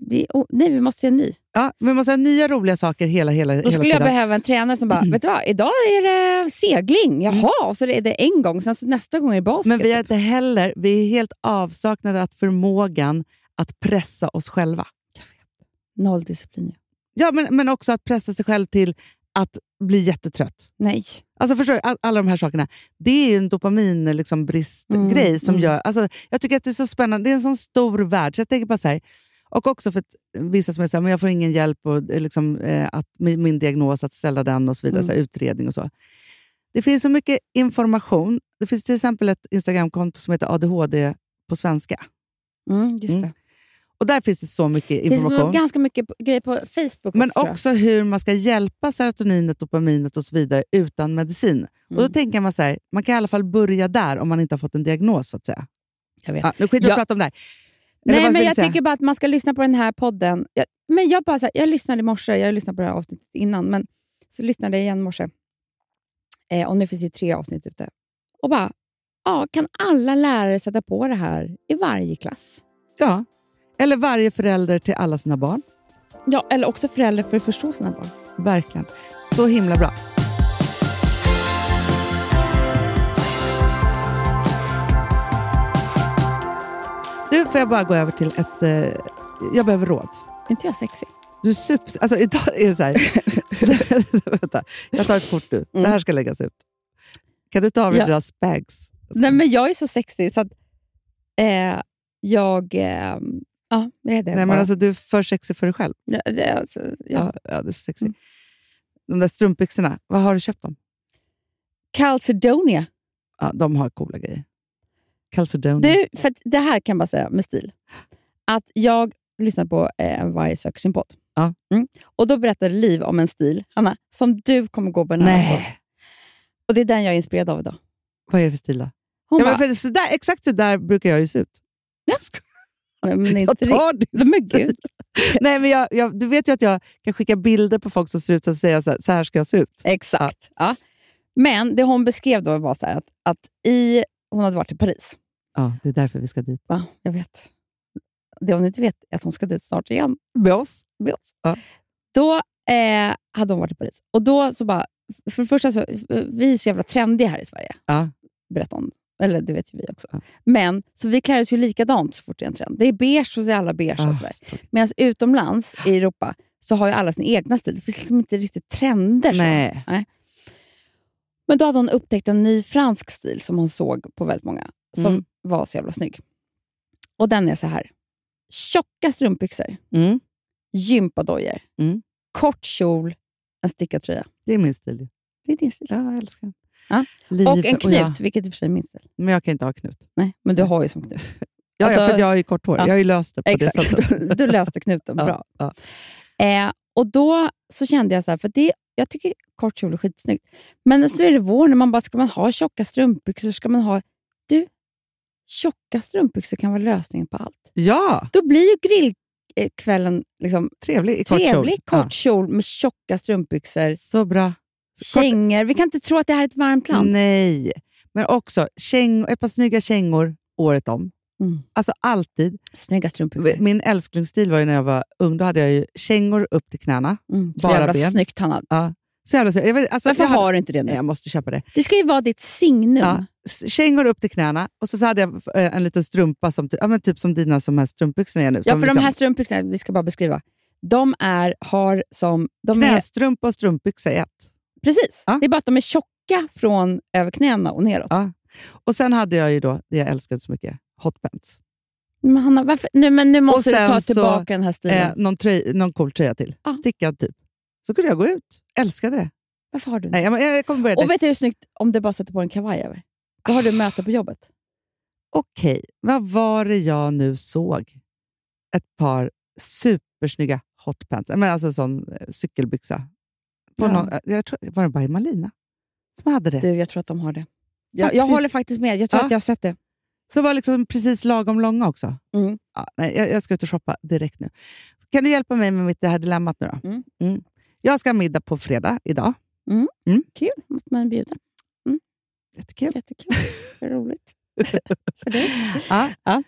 Speaker 4: Det är o- nej, vi måste göra en ny.
Speaker 3: Ja, vi måste ha nya roliga saker hela, hela,
Speaker 4: Då
Speaker 3: hela
Speaker 4: skulle jag
Speaker 3: tiden.
Speaker 4: behöva en tränare som bara, vet du vad, idag är det segling. Jaha, så det är det en gång, sen så nästa gång är det basket.
Speaker 3: Mm. Men vi har
Speaker 4: typ.
Speaker 3: inte heller, vi är helt avsaknade av förmågan att pressa oss själva.
Speaker 4: Noll disciplin.
Speaker 3: Ja, men, men också att pressa sig själv till att bli jättetrött.
Speaker 4: Nej.
Speaker 3: Alltså förstår du, all, alla de här sakerna. Det är ju en dopaminbristgrej liksom, bristgrej
Speaker 4: Mm,
Speaker 3: som
Speaker 4: mm.
Speaker 3: gör... Alltså, jag tycker att det är så spännande. Det är en sån stor värld. Så jag tänker bara så här, och också för att vissa som är så här, men jag får ingen hjälp och, eh, liksom, eh, att, med min diagnos, att ställa den och så vidare,
Speaker 4: Mm.
Speaker 3: så här, utredning och så. Det finns så mycket information. Det finns till exempel ett Instagramkonto som heter ADHD på svenska.
Speaker 4: Mm, just
Speaker 3: Mm.
Speaker 4: det.
Speaker 3: Och där finns det så mycket
Speaker 4: Det finns
Speaker 3: information.
Speaker 4: ganska mycket på- grejer på Facebook
Speaker 3: Men
Speaker 4: också. tror jag.
Speaker 3: också hur man ska hjälpa serotoninet, dopaminet och så vidare utan medicin. Och då
Speaker 4: Mm.
Speaker 3: tänker man så här, man kan i alla fall börja där om man inte har fått en diagnos. så att säga.
Speaker 4: Jag vet.
Speaker 3: Ja, nu skiter vi i
Speaker 4: Ja.
Speaker 3: att prata om det här. Eller
Speaker 4: Nej,
Speaker 3: vad
Speaker 4: men
Speaker 3: vill
Speaker 4: jag
Speaker 3: du säga?
Speaker 4: tycker bara att man ska lyssna på den här podden. Jag, men jag, bara, så här, jag lyssnade i morse, jag lyssnade på det här avsnittet innan, men så lyssnade jag igen i morse. Eh, och nu finns ju tre avsnitt ute. Och bara, ja, kan alla lärare sätta på det här i varje klass?
Speaker 3: Ja. Eller varje förälder till alla sina barn.
Speaker 4: Ja, eller också föräldrar för att förstå sina barn.
Speaker 3: Verkligen. Så himla bra. Du, får jag bara gå över till ett... Eh, jag behöver råd.
Speaker 4: Är inte jag sexig?
Speaker 3: Du sups... Alltså idag är det så här. Vänta, jag tar ett kort nu. Det här ska läggas ut. Kan du ta av dig
Speaker 4: Mm. Ja.
Speaker 3: dina spags?
Speaker 4: Nej, men jag är så sexig så att eh, jag... Eh, ja, jag är det.
Speaker 3: Nej, men
Speaker 4: bara.
Speaker 3: alltså, du är för sexig för dig själv.
Speaker 4: Ja, det, är alltså, ja. Mm.
Speaker 3: Ja, ja det är så sexigt. De där strumpbyxorna, var har du köpt dem?
Speaker 4: Calcedonia.
Speaker 3: Mm. Ja, de har coola grejer. Calcedonia.
Speaker 4: Du, för att det här kan jag bara säga med stil. Att jag lyssnar på eh, Varje söker sin podd.
Speaker 3: Ja.
Speaker 4: Mm. Och då berättade Liv om en stil, Hanna, som du kommer gå bananas på.
Speaker 3: Nej,
Speaker 4: Och det är den jag är inspirerad av idag.
Speaker 3: vad är det för stil då?
Speaker 4: Hon
Speaker 3: Ja,
Speaker 4: bara,
Speaker 3: men för så där, exakt så där brukar jag ju se ut.
Speaker 4: "Mm, men, men
Speaker 3: Jag
Speaker 4: inte riktigt.
Speaker 3: tar det.
Speaker 4: Men gud.
Speaker 3: Nej, men jag, jag, du vet ju att jag kan skicka bilder på folk som ser ut och säga så här, så här ska jag se ut.
Speaker 4: Exakt. Ja. Men det hon beskrev då var så här att, att i, hon hade varit i Paris.
Speaker 3: Ja, det är därför vi ska dit.
Speaker 4: Va? Jag vet. Det hon inte vet är att hon ska dit snart igen.
Speaker 3: Med oss.
Speaker 4: med oss.
Speaker 3: Ja.
Speaker 4: Då eh, hade hon varit i Paris. Och då så bara, för det första, så, vi är så jävla trendiga här i Sverige.
Speaker 3: Ja.
Speaker 4: Berättade hon. Eller det vet ju vi också.
Speaker 3: Ja.
Speaker 4: Men, så vi klär oss ju likadant så fort det är en trend. Det är beige och så är alla beige
Speaker 3: Ah,
Speaker 4: och sådär. Medan utomlands i Europa så har ju alla sin egna stil. Det finns liksom inte riktigt trender. så.
Speaker 3: Nej.
Speaker 4: Men då hade hon upptäckt en ny fransk stil som hon såg på väldigt många, som
Speaker 3: Mm.
Speaker 4: var så jävla snygg. Och den är så här. Tjocka strumpbyxor,
Speaker 3: Mm.
Speaker 4: gympadojor,
Speaker 3: Mm.
Speaker 4: kort kjol, en stickad tröja.
Speaker 3: Det är min stil. ju.
Speaker 4: Det är din stil.
Speaker 3: Ja, jag älskar den.
Speaker 4: Ja.
Speaker 3: Liv
Speaker 4: Och en knut,
Speaker 3: jag.
Speaker 4: vilket i och för sig är min stil.
Speaker 3: Men jag kan inte ha knut.
Speaker 4: Nej, men du har ju som knut.
Speaker 3: Ja,
Speaker 4: Alltså-
Speaker 3: ja, för att jag har ju kort hår.
Speaker 4: Ja.
Speaker 3: Jag har ju löst det på det sättet.
Speaker 4: Du, du löste knuten
Speaker 3: Ja,
Speaker 4: bra.
Speaker 3: ja.
Speaker 4: Eh, och då så kände jag så här, för det, jag tycker kort kjol är skitsnyggt. Men så är det vår när man bara, ska man ha tjocka strumpbyxor? Ska man ha... Du, tjocka strumpbyxor kan vara lösningen på allt.
Speaker 3: Ja,
Speaker 4: Då blir ju grillkvällen liksom,
Speaker 3: trevlig i kort kjol.
Speaker 4: trevlig. Kort kjol med tjocka strumpbyxor,
Speaker 3: Ja. Så bra.
Speaker 4: kängor. Vi kan inte tro att det här är ett varmt land.
Speaker 3: Nej, men också käng, ett par snygga kängor året om.
Speaker 4: Mm.
Speaker 3: Alltså alltid.
Speaker 4: Snygga strumpbyxor.
Speaker 3: Min älsklingsstil var ju när jag var ung. Då hade jag ju kängor upp till knäna.
Speaker 4: Mm, så
Speaker 3: bara
Speaker 4: jävla
Speaker 3: ben.
Speaker 4: snyggt, Hanna.
Speaker 3: Så jävla så. Jag vet, alltså,
Speaker 4: Varför
Speaker 3: jag hade,
Speaker 4: har du inte det nu?
Speaker 3: Nej, Jag måste köpa det.
Speaker 4: Det ska ju vara ditt signum.
Speaker 3: Ja, s- kängor upp till knäna och så, så hade jag eh, en liten strumpa, som, ty- ja, men typ som dina som här strumpbyxorna är nu.
Speaker 4: Ja,
Speaker 3: som
Speaker 4: för de
Speaker 3: liksom-
Speaker 4: här strumpbyxorna, vi ska bara beskriva. De är, har som... De är,
Speaker 3: Knästrumpa och strumpbyxa i ett.
Speaker 4: precis.
Speaker 3: Ja.
Speaker 4: Det är bara att de är tjocka från över knäna och neråt.
Speaker 3: Ja. Och sen hade jag ju då, det jag älskade så mycket, hotpants.
Speaker 4: Men Hanna, varför? Nu, men nu måste du
Speaker 3: sen
Speaker 4: ta
Speaker 3: så-
Speaker 4: tillbaka den här stilen.
Speaker 3: Eh, någon, tröj, någon cool tröja till.
Speaker 4: Ja.
Speaker 3: Stickad typ. Så kunde jag gå ut. Älskade det.
Speaker 4: varför har du den?
Speaker 3: Nej, jag, jag Ah. kommer börja
Speaker 4: Och
Speaker 3: direkt.
Speaker 4: vet du hur snyggt om du bara sätter på en kavaj över? Då har du möte på jobbet.
Speaker 3: Okej, vad var det jag nu såg? Ett par supersnygga hotpants. Men alltså sån eh, cykelbyxa. På
Speaker 4: Ja.
Speaker 3: någon, eh, jag tror, var det bara Malina som hade det?
Speaker 4: Du, jag tror att de har det. Jag, jag
Speaker 3: Faktiskt.
Speaker 4: håller faktiskt med. Jag tror
Speaker 3: Ja.
Speaker 4: att jag har sett det.
Speaker 3: Så var liksom precis lagom långa också.
Speaker 4: Mm.
Speaker 3: Ja, nej, jag, jag ska ut och shoppa direkt nu. Kan du hjälpa mig med mitt det här dilemmat nu då?
Speaker 4: Mm.
Speaker 3: Jag ska ha middag på fredag idag.
Speaker 4: Kul att man är bjuden.
Speaker 3: Jättekul.
Speaker 4: Jättekul. Det är roligt.
Speaker 3: Ja.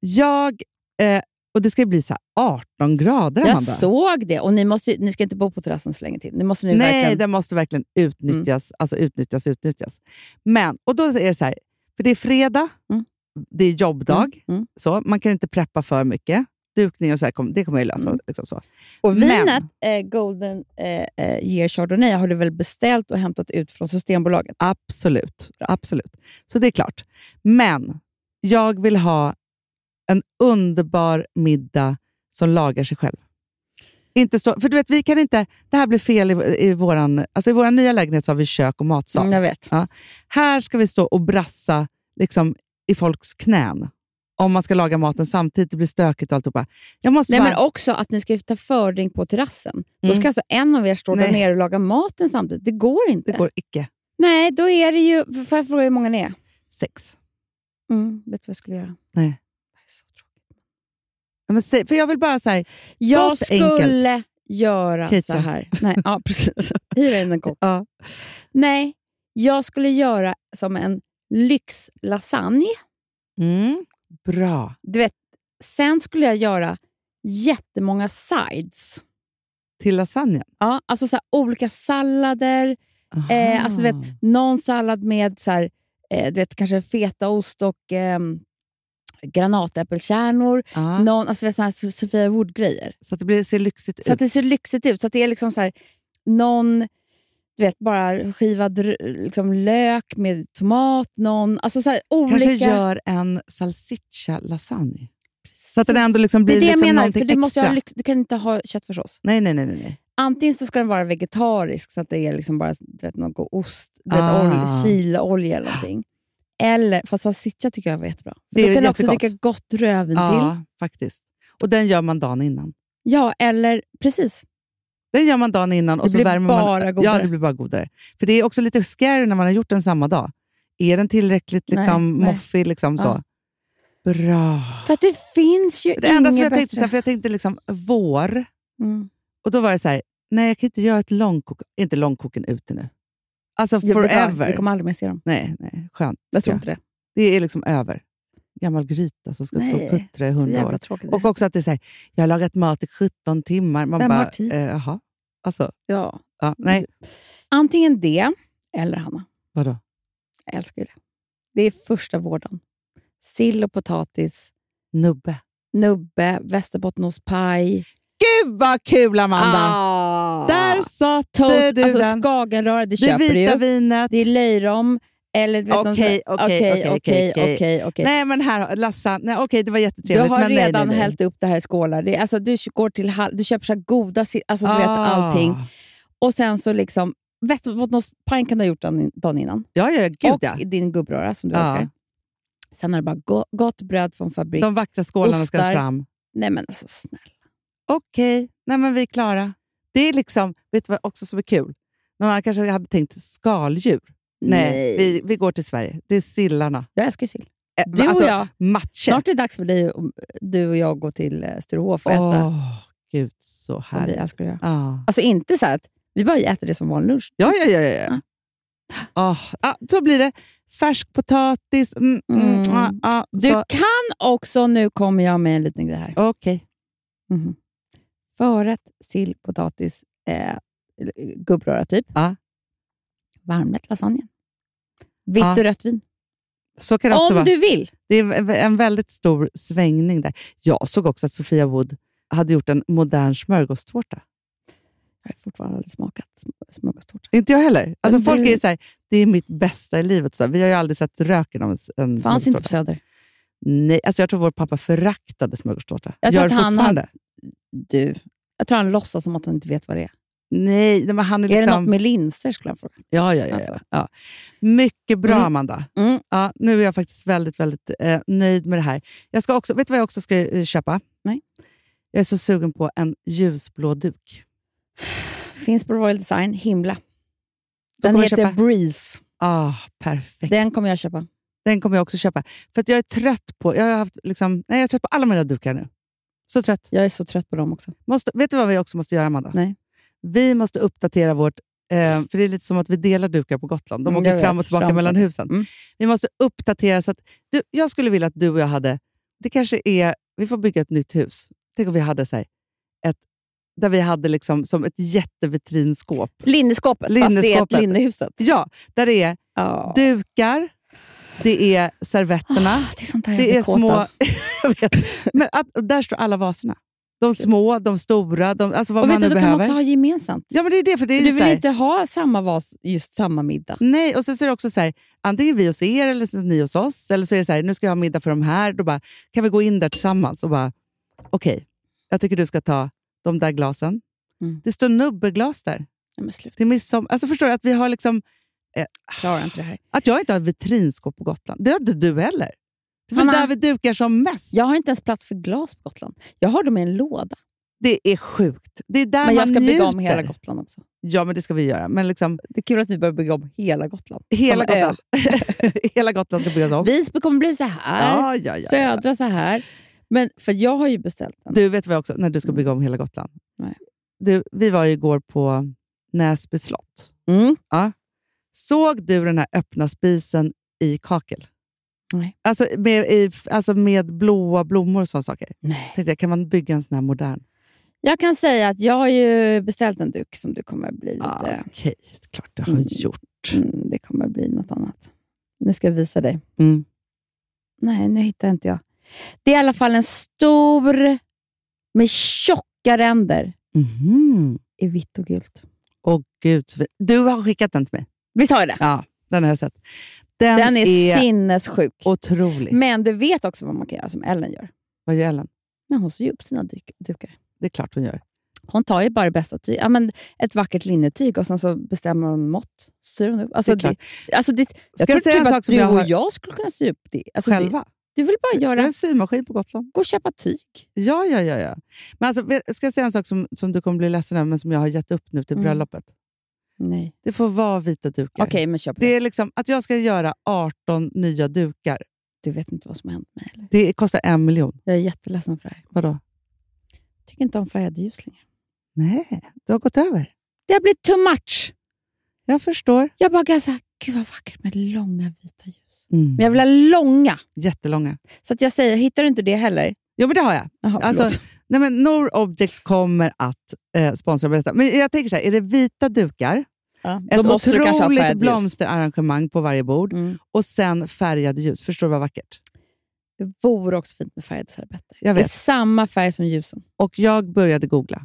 Speaker 3: Jag, eh, och det ska ju bli så här 18 grader,
Speaker 4: Jag
Speaker 3: Amanda.
Speaker 4: såg det. Och ni, måste, ju- ni ska inte bo på terrassen så länge till. Ni måste nu
Speaker 3: Nej,
Speaker 4: verkligen... Mm.
Speaker 3: den måste verkligen utnyttjas, alltså utnyttjas, utnyttjas. Men, och då är det så här, för det är fredag,
Speaker 4: Mm.
Speaker 3: det är jobbdag,
Speaker 4: Mm, mm.
Speaker 3: Så, man kan inte preppa för mycket. Dukning och så här, kom- det kommer jag ju lösa.
Speaker 4: Mm.
Speaker 3: Liksom så.
Speaker 4: Och
Speaker 3: Men-
Speaker 4: vinet eh, Golden eh, eh, Year Chardonnay har du väl beställt och hämtat ut från Systembolaget?
Speaker 3: Absolut. absolut. Så det är klart. Men jag vill ha en underbar middag som lagar sig själv. Inte stå, för du vet, vi kan inte... Det här blir fel i, i vår alltså i våran nya lägenhet så har vi kök och matsal.
Speaker 4: Mm, jag vet.
Speaker 3: Här ska vi stå och brassa liksom, i folks knän. Om man ska laga maten samtidigt, det blir stökigt och alltihopa. Jag måste
Speaker 4: Nej,
Speaker 3: bara,
Speaker 4: men också att ni ska ta fördrink på terrassen. Då
Speaker 3: Mm.
Speaker 4: ska alltså en av er stå där
Speaker 3: Nej.
Speaker 4: nere och laga maten samtidigt. Det går inte.
Speaker 3: det går icke.
Speaker 4: Nej, då är det ju... Får jag fråga hur många ni är?
Speaker 3: Sex.
Speaker 4: Mm, vet du vad jag skulle göra?
Speaker 3: Nej.
Speaker 4: Det här är så tråkigt.
Speaker 3: Ja, men, se- för jag vill bara så här,
Speaker 4: Jag
Speaker 3: Något enkelt.
Speaker 4: skulle göra
Speaker 3: Catering.
Speaker 4: så här. Nej, ja, precis. Hyra in en kock.
Speaker 3: ja,
Speaker 4: Nej, jag skulle göra som en lyxlasagne.
Speaker 3: mm, bra.
Speaker 4: Du vet, sen skulle jag göra jättemånga sides.
Speaker 3: Till lasagnen?
Speaker 4: Ja, alltså så här, olika sallader.
Speaker 3: Aha.
Speaker 4: alltså, du vet, eh, Någon sallad med så här, eh, du vet, kanske fetaost och ehm, granatäppelkärnor,
Speaker 3: Ja.
Speaker 4: någon, alltså vi har såna här So- Sofia Wood-grejer.
Speaker 3: Ah. Så att det blir, ser lyxigt
Speaker 4: Så att
Speaker 3: ut.
Speaker 4: det ser lyxigt ut. Så att det är liksom så här, någon du vet, bara skivad r- liksom, lök med tomat, någon... Alltså så här, olika...
Speaker 3: Kanske gör en salsiccia lasagne. Så att den
Speaker 4: Precis.
Speaker 3: ändå liksom
Speaker 4: det
Speaker 3: blir
Speaker 4: är det jag
Speaker 3: liksom
Speaker 4: menar,
Speaker 3: någonting
Speaker 4: för du, måste
Speaker 3: extra.
Speaker 4: ha lyx, du kan inte ha köttfärssås.
Speaker 3: Nej, nej, nej. nej, nej.
Speaker 4: Antingen så ska den vara vegetarisk, så att det är liksom bara du vet, någon god ost, du
Speaker 3: Ah.
Speaker 4: vet, olja, chilaolja eller någonting. Eller, fast salsiccia tycker jag var jättebra.
Speaker 3: Det
Speaker 4: Det
Speaker 3: är
Speaker 4: då kan du också
Speaker 3: jättegott. Ah.
Speaker 4: dricka gott rödvin till.
Speaker 3: Ja, faktiskt. Och den gör man dagen innan.
Speaker 4: Ja, eller precis.
Speaker 3: Den gör man dagen innan och
Speaker 4: Det
Speaker 3: så
Speaker 4: blir
Speaker 3: värmer
Speaker 4: bara
Speaker 3: man...
Speaker 4: godare.
Speaker 3: Ja, det blir bara godare. För det är också lite scary när man har gjort den samma dag. Är den tillräckligt liksom,
Speaker 4: Nej, nej.
Speaker 3: moffig? Liksom, så?
Speaker 4: Ja.
Speaker 3: Bra.
Speaker 4: För att det finns ju
Speaker 3: Det enda som
Speaker 4: inget
Speaker 3: jag tänkte, så här,
Speaker 4: bättre.
Speaker 3: för jag tänkte liksom vår,
Speaker 4: Mm.
Speaker 3: och då var det så här, nej jag kan inte göra ett långkok, inte långkoken ute nu. Alltså
Speaker 4: Jag vet inte,
Speaker 3: forever.
Speaker 4: Vi kommer aldrig mer se dem.
Speaker 3: Nej, nej, skönt.
Speaker 4: Jag tror
Speaker 3: Ja.
Speaker 4: inte det.
Speaker 3: Det är liksom över. Gammal gryta som ska stå
Speaker 4: Nej,
Speaker 3: och puttra i
Speaker 4: Så
Speaker 3: hundra år.
Speaker 4: jävla tråkigt.
Speaker 3: Och också att det är så här, jag har lagat mat i 17 timmar. Man
Speaker 4: Vem
Speaker 3: bara,
Speaker 4: har tid?
Speaker 3: eh, jaha. Alltså,
Speaker 4: ja. typ
Speaker 3: ja, nej.
Speaker 4: Antingen det, eller Hanna.
Speaker 3: Vadå?
Speaker 4: Jag älskar ju det. Det är första vårdagen. Sill och potatis,
Speaker 3: Nubbe.
Speaker 4: nubbe, västerbottenostpaj.
Speaker 3: Gud vad kul Amanda!
Speaker 4: Ah!
Speaker 3: Där satte
Speaker 4: Toast,
Speaker 3: du
Speaker 4: alltså
Speaker 3: den.
Speaker 4: skagenröra, det,
Speaker 3: Det
Speaker 4: köper du
Speaker 3: vita
Speaker 4: ju.
Speaker 3: vinet.
Speaker 4: Det är löjrom, eller... du vet, någon
Speaker 3: Okej,
Speaker 4: sån-
Speaker 3: okej, okej, okej, okej.
Speaker 4: okej, okej, okej.
Speaker 3: Nej men här, Lassa, nej, okej det var
Speaker 4: Du
Speaker 3: jättetrevligt.
Speaker 4: har
Speaker 3: men nej,
Speaker 4: redan
Speaker 3: nej, nej.
Speaker 4: hällt upp det här i skålar. Det är, alltså, du, går till, hall- du köper så här goda, si- alltså, du vet allting.
Speaker 3: Ah.
Speaker 4: Och sen så liksom, västerbottenostpajen kan du ha gjort den dagen innan.
Speaker 3: Ja, ja, gud
Speaker 4: och
Speaker 3: ja. Ah.
Speaker 4: din gubbröra som du
Speaker 3: Ja.
Speaker 4: älskar. Sen har det bara go- gott bröd från fabrik.
Speaker 3: De vackra skålarna ska
Speaker 4: Ostar.
Speaker 3: fram.
Speaker 4: Nej men alltså snälla.
Speaker 3: Okej, nej men vi är klara. Det är liksom, vet du vad också som är kul? Någon annan kanske hade tänkt skaldjur. Nej, Vi, vi går till Sverige. Det är sillarna.
Speaker 4: Jag älskar ju sill.
Speaker 3: Eh,
Speaker 4: Du och
Speaker 3: alltså,
Speaker 4: jag.
Speaker 3: Matchen.
Speaker 4: Snart är det dags för dig och, du och jag gå till eh, Sturehof och äta.
Speaker 3: Åh, gud så
Speaker 4: Som vi
Speaker 3: härligt.
Speaker 4: älskar att göra.
Speaker 3: Ah.
Speaker 4: Alltså inte så här att vi bara äter det som vanlig lunch.
Speaker 3: Ja, ja, ja. ja. ja. Ah, ah, så blir det. Färsk potatis. Mm, mm,
Speaker 4: Mm.
Speaker 3: ah, ah,
Speaker 4: Du
Speaker 3: så-
Speaker 4: kan också, nu kommer jag med en liten grej här.
Speaker 3: Okej.
Speaker 4: Mhm. Förrätt, sill, potatis, eh, gubbröra typ.
Speaker 3: Ja.
Speaker 4: Varmrätt lasagne. Vitt
Speaker 3: Ja.
Speaker 4: och rött vin.
Speaker 3: Så kan det också
Speaker 4: Om
Speaker 3: vara.
Speaker 4: du vill.
Speaker 3: Det är en- en väldigt stor svängning där. Jag såg också att Sofia Wood hade gjort en modern smörgåstårta.
Speaker 4: Jag har fortfarande aldrig smakat sm- smörgåstårta.
Speaker 3: Inte jag heller. Alltså
Speaker 4: Men
Speaker 3: folk
Speaker 4: du-
Speaker 3: är ju så här, det är mitt bästa i livet. Så här, vi har ju aldrig sett röken av en s- en
Speaker 4: Fanns inte på
Speaker 3: smörgåstårta.
Speaker 4: Söder.
Speaker 3: Nej, alltså jag tror vår pappa föraktade smörgåstårta.
Speaker 4: Jag tror
Speaker 3: Gör
Speaker 4: att
Speaker 3: det
Speaker 4: han
Speaker 3: fortfarande?
Speaker 4: Du. Jag tror han låtsas som att han inte vet vad det är.
Speaker 3: Nej, nej, men han är,
Speaker 4: Är
Speaker 3: liksom...
Speaker 4: det något med linser skulle han fråga.
Speaker 3: Ja, ja, ja,
Speaker 4: Alltså.
Speaker 3: ja, ja. Mycket bra,
Speaker 4: Mm.
Speaker 3: Amanda.
Speaker 4: Mm.
Speaker 3: Ja, nu är jag faktiskt väldigt, väldigt eh, nöjd med det här. Jag ska också, vet du vad jag också ska eh, köpa?
Speaker 4: Nej.
Speaker 3: Jag är så sugen på en ljusblå duk.
Speaker 4: Finns på Royal Design, himla. Den
Speaker 3: kommer
Speaker 4: heter
Speaker 3: jag köpa.
Speaker 4: Breeze.
Speaker 3: Ah, perfekt.
Speaker 4: Den kommer jag köpa.
Speaker 3: Den kommer jag också köpa. För att jag är trött på jag har haft, liksom, nej, jag är trött på alla mina dukar nu. Så trött.
Speaker 4: Jag är så trött på dem också.
Speaker 3: Måste, vet du vad vi också måste göra, Amanda?
Speaker 4: Nej.
Speaker 3: Vi måste uppdatera vårt... Eh, för det är lite som att vi delar dukar på Gotland. De
Speaker 4: Mm, jag
Speaker 3: åker
Speaker 4: vet.
Speaker 3: fram och tillbaka
Speaker 4: Fram-
Speaker 3: mellan husen.
Speaker 4: Mm.
Speaker 3: Vi måste uppdatera så att... Du, jag skulle vilja att du och jag hade... Det kanske är... Vi får bygga ett nytt hus. Tänk om vi hade så här, ett... Där vi hade liksom som ett jättevetrinskåp.
Speaker 4: Linneskåpet, fast det är ett
Speaker 3: Linneskåpet.
Speaker 4: linnehuset.
Speaker 3: Ja, där det är
Speaker 4: Ja.
Speaker 3: dukar, det är servetterna.
Speaker 4: Ah, det är sånt där jag
Speaker 3: Det
Speaker 4: blir
Speaker 3: är
Speaker 4: kåt
Speaker 3: små...
Speaker 4: av.
Speaker 3: jag vet. Men att, och där står alla vaserna. De små, de stora, de, alltså vad
Speaker 4: Och
Speaker 3: man
Speaker 4: vet
Speaker 3: nu
Speaker 4: du, då kan man
Speaker 3: behöver.
Speaker 4: också ha gemensamt.
Speaker 3: Ja, men det är det. För det är
Speaker 4: För
Speaker 3: ju
Speaker 4: du
Speaker 3: så
Speaker 4: vill
Speaker 3: här,
Speaker 4: inte ha samma vas just samma middag.
Speaker 3: Nej, och sen så är det också så här, antingen vi hos er eller så är ni hos oss. Eller så är det så här, nu ska jag ha middag för de här. Då bara, kan vi gå in där tillsammans och bara, okej, jag tycker du ska ta de där glasen.
Speaker 4: Mm.
Speaker 3: Det står nubbeglas där
Speaker 4: Nej, men sluta.
Speaker 3: till midsommar. Alltså förstår du att vi har liksom,
Speaker 4: Klarar inte det här.
Speaker 3: att jag inte har ett vitrinskåp på Gotland. Det har inte du heller. Det är väl
Speaker 4: Hanna.
Speaker 3: där vi dukar som mest.
Speaker 4: Jag har inte ens plats för glas på Gotland. Jag har dem i en låda.
Speaker 3: Det är sjukt. Det är där man
Speaker 4: Men jag ska
Speaker 3: njuter.
Speaker 4: bygga om hela Gotland också.
Speaker 3: Ja, men det ska vi göra. Men liksom,
Speaker 4: Det är kul att vi börjar bygga om hela Gotland.
Speaker 3: hela,
Speaker 4: Som ö.
Speaker 3: Gotland. hela Gotland ska byggas om.
Speaker 4: Visby kommer bli så här.
Speaker 3: Ja, ja, ja, ja.
Speaker 4: Södra så här. Men, för jag har ju beställt den.
Speaker 3: Du, vet vad jag också, när du ska bygga om hela Gotland?
Speaker 4: Mm. Nej.
Speaker 3: Du, vi var ju igår på Näsby slott.
Speaker 4: Mm.
Speaker 3: Såg du den här öppna spisen i kakel?
Speaker 4: Nej.
Speaker 3: Alltså med, i, alltså med blåa blommor och sådana saker.
Speaker 4: Nej.
Speaker 3: Tänkte jag, kan man bygga en sån här modern?
Speaker 4: Jag kan säga att jag har ju beställt en duk som du kommer bli
Speaker 3: Ah,
Speaker 4: lite...
Speaker 3: Okej, klart du har
Speaker 4: Mm.
Speaker 3: gjort.
Speaker 4: Mm, det kommer bli något annat. Nu ska jag visa dig.
Speaker 3: Mm.
Speaker 4: Nej, nu hittar inte jag. Det är i alla fall en stor med tjocka ränder
Speaker 3: Mhm.
Speaker 4: i vitt och gult.
Speaker 3: Åh gud, så fint. Du har skickat den till mig.
Speaker 4: Visst har jag det?
Speaker 3: Ja, den har jag sett. Den,
Speaker 4: Den är,
Speaker 3: är
Speaker 4: sinnessjuk.
Speaker 3: otrolig.
Speaker 4: Men du vet också vad man kan göra som Ellen gör.
Speaker 3: Vad gör Ellen?
Speaker 4: Men hon syr upp sina dyk- dukar.
Speaker 3: Det är klart hon gör.
Speaker 4: Hon tar ju bara det bästa tyg, ja, men ett vackert linnetyg och sen så bestämmer hon mått. Syr hon upp. Alltså,
Speaker 3: Det är klart.
Speaker 4: det, alltså det, jag
Speaker 3: Ska
Speaker 4: tror
Speaker 3: jag säga
Speaker 4: typ
Speaker 3: en
Speaker 4: att
Speaker 3: sak som
Speaker 4: du
Speaker 3: jag
Speaker 4: och
Speaker 3: har-
Speaker 4: jag skulle kunna sy upp det. Alltså det
Speaker 3: Själva.
Speaker 4: du vill bara
Speaker 3: Jag har
Speaker 4: göra,
Speaker 3: en symaskin på Gotland.
Speaker 4: gå och köpa tyg.
Speaker 3: Ja, ja, ja. ja. Men alltså, vet- ska jag säga en sak som, som du kommer bli ledsen över, men som jag har gett upp nu till
Speaker 4: Mm.
Speaker 3: bröllopet?
Speaker 4: Nej.
Speaker 3: Det får vara vita dukar.
Speaker 4: Okej, men köp
Speaker 3: Det
Speaker 4: det.
Speaker 3: är liksom att jag ska göra 18 nya dukar.
Speaker 4: Du vet inte vad som har hänt mig heller.
Speaker 3: Det kostar en miljon.
Speaker 4: Jag är jätteledsen för det här.
Speaker 3: Vadå?
Speaker 4: Tycker inte om färgade ljus längre.
Speaker 3: Nej, du har gått över.
Speaker 4: Det har blivit too much.
Speaker 3: Jag förstår.
Speaker 4: Jag bara, alltså, gud vad vackert med långa vita ljus.
Speaker 3: Mm.
Speaker 4: Men jag vill ha långa.
Speaker 3: Jättelånga.
Speaker 4: Så att jag säger, hittar du inte det heller?
Speaker 3: Jo, men det har jag.
Speaker 4: Jaha,
Speaker 3: Alltså,
Speaker 4: förlåt.
Speaker 3: nej, men Nor Objects kommer att eh, sponsra med detta. Men jag tänker så här, är det vita dukar,
Speaker 4: Då
Speaker 3: ett
Speaker 4: måste du kanske ha
Speaker 3: otroligt
Speaker 4: färgat ljus.
Speaker 3: blomsterarrangemang på varje bord
Speaker 4: Mm.
Speaker 3: och sen färgade ljus. Förstår du vad vackert?
Speaker 4: Det vore också fint med färgade servetter.
Speaker 3: Jag
Speaker 4: Det är
Speaker 3: vet.
Speaker 4: samma färg som ljusen.
Speaker 3: Och jag började googla.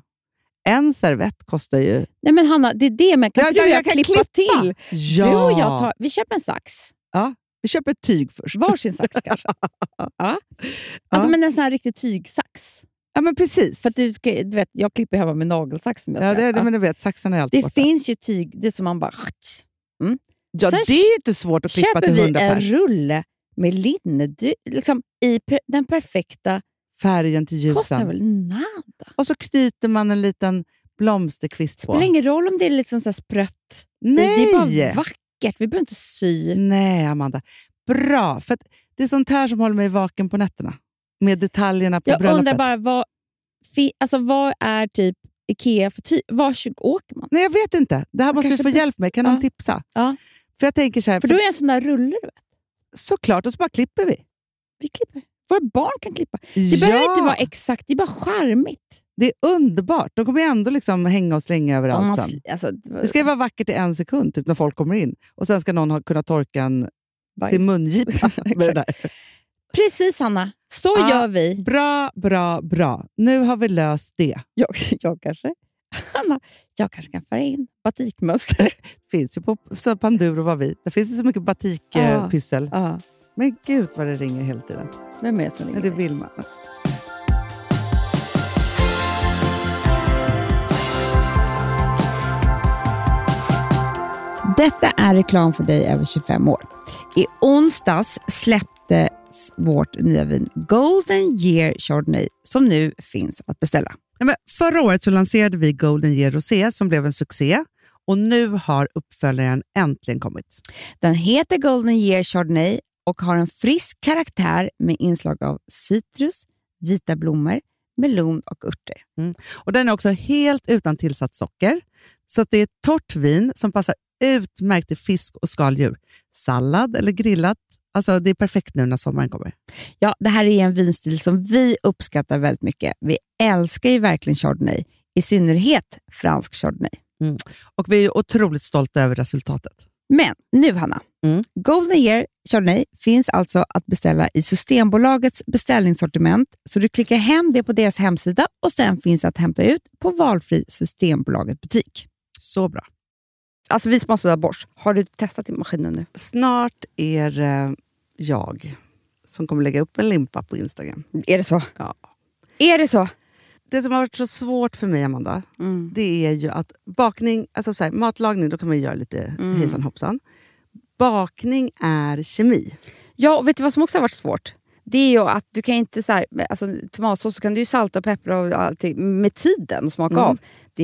Speaker 3: En servett kostar ju...
Speaker 4: Nej men Hanna, det är det men kan
Speaker 3: Ja,
Speaker 4: inte
Speaker 3: ja,
Speaker 4: du och
Speaker 3: jag kan
Speaker 4: klippa,
Speaker 3: klippa.
Speaker 4: till?
Speaker 3: Ja!
Speaker 4: Du och jag tar, vi köper en sax.
Speaker 3: Vi köper ett tyg först.
Speaker 4: Varsin sax kanske. Ja. Alltså,
Speaker 3: Ja.
Speaker 4: Men en sån här riktig tygsax.
Speaker 3: Ja, men precis.
Speaker 4: För att du, ska- du vet, jag klipper hemma med nagelsax som jag
Speaker 3: ja,
Speaker 4: ska
Speaker 3: det,
Speaker 4: äta.
Speaker 3: det, men du vet, saxen är allt
Speaker 4: Det
Speaker 3: borta.
Speaker 4: finns ju tyg det är som man bara...
Speaker 3: ja,
Speaker 4: Sen
Speaker 3: det är ju inte svårt att klippa
Speaker 4: Köper
Speaker 3: till
Speaker 4: vi
Speaker 3: 100
Speaker 4: en
Speaker 3: pers.
Speaker 4: rulle med linne du, liksom, i per, den perfekta...
Speaker 3: Färgen till
Speaker 4: Kostar
Speaker 3: ljusen.
Speaker 4: väl nada?
Speaker 3: Och så knyter man en liten blomsterkvist på.
Speaker 4: Spelar ingen roll om det är liksom så här sprött. Det-
Speaker 3: Nej! Mm,
Speaker 4: Det är bara vackert. Vi behöver inte sy.
Speaker 3: Nej, Amanda. Bra! För att det är sånt här som håller mig vaken på nätterna. Med detaljerna på
Speaker 4: Jag
Speaker 3: bröllopet.
Speaker 4: undrar bara, vad, fi, alltså, vad är typ Ikea för tyg? Var tj- åker man?
Speaker 3: Nej, jag vet inte. Det här måste vi
Speaker 4: kanske
Speaker 3: få
Speaker 4: best-
Speaker 3: hjälp med. Kan
Speaker 4: Ja.
Speaker 3: någon tipsa?
Speaker 4: Ja.
Speaker 3: För jag tänker så här,
Speaker 4: För
Speaker 3: för
Speaker 4: då är en sån där rulle, du vet.
Speaker 3: såklart, och så bara klipper vi.
Speaker 4: Vi klipper. Våra barn kan klippa. Det behöver inte vara exakt, det är bara charmigt.
Speaker 3: det är underbart. De kommer ju ändå liksom hänga och slänga
Speaker 4: Om
Speaker 3: överallt
Speaker 4: man
Speaker 3: sen.
Speaker 4: sl- alltså,
Speaker 3: Det ska ju vara vackert i en sekund, typ när folk kommer in. Och sen ska någon ha, kunna torka en, sin mungipa liksom. med det där.
Speaker 4: Precis, Hanna. Så
Speaker 3: Ah.
Speaker 4: gör vi.
Speaker 3: Bra, bra, bra. Nu har vi löst det.
Speaker 4: Jag, jag kanske Hanna, jag kanske kan föra in batikmönster.
Speaker 3: Finns ju på så Panduro var vi. Det finns ju så mycket
Speaker 4: Ja.
Speaker 3: batikpyssel.
Speaker 4: Ja,
Speaker 3: Men gud vad det ringer hela tiden.
Speaker 4: vem är det som ringer?
Speaker 3: Nej, det är Vilma. Alltså.
Speaker 4: Detta är reklam för dig över 25 år. I onsdags släpptes vårt nya vin Golden Year Chardonnay som nu finns att beställa.
Speaker 3: Nej, men förra året så lanserade vi Golden Year Rosé som blev en succé och nu har uppföljaren äntligen kommit.
Speaker 4: Den heter Golden Year Chardonnay och har en frisk karaktär med inslag av citrus, vita blommor, melon och örter.
Speaker 3: Och Den är också helt utan tillsatt socker, så att det är ett torrt vin som passar utmärkt till fisk och skaldjur. Sallad eller grillat. Alltså Det är perfekt nu när sommaren kommer.
Speaker 4: Ja, det här är en vinstil som vi uppskattar väldigt mycket. Vi älskar ju verkligen Chardonnay, i synnerhet fransk Chardonnay.
Speaker 3: Och Vi är ju otroligt stolta över resultatet.
Speaker 4: Men nu Hanna,
Speaker 3: Mm.
Speaker 4: Golden Year Chardonnay finns alltså att beställa i Systembolagets beställningssortiment. Så du klickar hem det på deras hemsida och sen finns att hämta ut på valfri Systembolaget butik.
Speaker 3: Så bra.
Speaker 4: Alltså vi sponsrar Bors. Har du testat i maskinen nu?
Speaker 3: Snart är det jag som kommer lägga upp en limpa på Instagram.
Speaker 4: Är det så?
Speaker 3: Ja.
Speaker 4: Är det så?
Speaker 3: Det som har varit så svårt för mig, Amanda, det är ju att bakning, alltså så här, matlagning, då kan man ju göra lite hejsan hoppsan. Bakning är kemi.
Speaker 4: Ja, och vet du vad som också har varit svårt? Det är ju att du kan inte så här, alltså, tomatsås så kan du ju salta och peppra och allting med tiden och
Speaker 3: Mm.
Speaker 4: smaka av. Det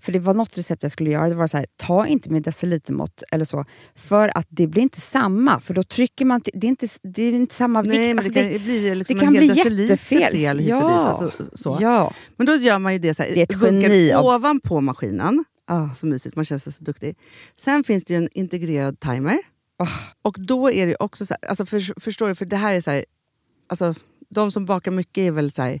Speaker 4: För det var något recept jag skulle göra. Det var så här, ta inte med decilitermått eller så. För att det blir inte samma. För då trycker man... till- Det är inte, det är inte samma vikt.
Speaker 3: Nej, men
Speaker 4: Alltså,
Speaker 3: det kan ju bli liksom
Speaker 4: det kan
Speaker 3: en hel
Speaker 4: bli
Speaker 3: deciliter
Speaker 4: jättefel.
Speaker 3: fel hit och dit.
Speaker 4: Ja.
Speaker 3: Alltså, så.
Speaker 4: Ja.
Speaker 3: Men då gör man ju det så här,
Speaker 4: Det är ett
Speaker 3: bunkar
Speaker 4: geni av-
Speaker 3: ovanpå maskinen.
Speaker 4: Ah.
Speaker 3: Så mysigt, man känns så duktig. Sen finns det ju en
Speaker 4: Ah.
Speaker 3: integrerad timer. Och då är det ju också så här, alltså för, förstår du, för det här är så här, alltså, de som bakar mycket är väl så här,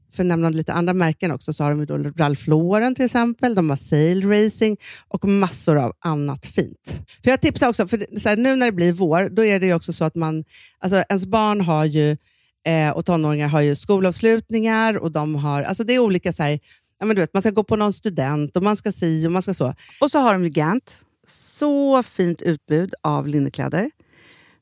Speaker 3: för att nämna lite andra märken också, så har de ju då Ralph Lauren till exempel, de har Sail Racing och massor av annat fint. För Jag tipsar också, för det- så här, nu när det blir vår, då är det ju också så att man, alltså ens barn har ju, eh, och tonåringar har ju skolavslutningar och de har, alltså det är olika så här, ja, men du vet, man ska gå på någon student och man ska si och man ska så. Och så har de ju Gant, så fint utbud av linnekläder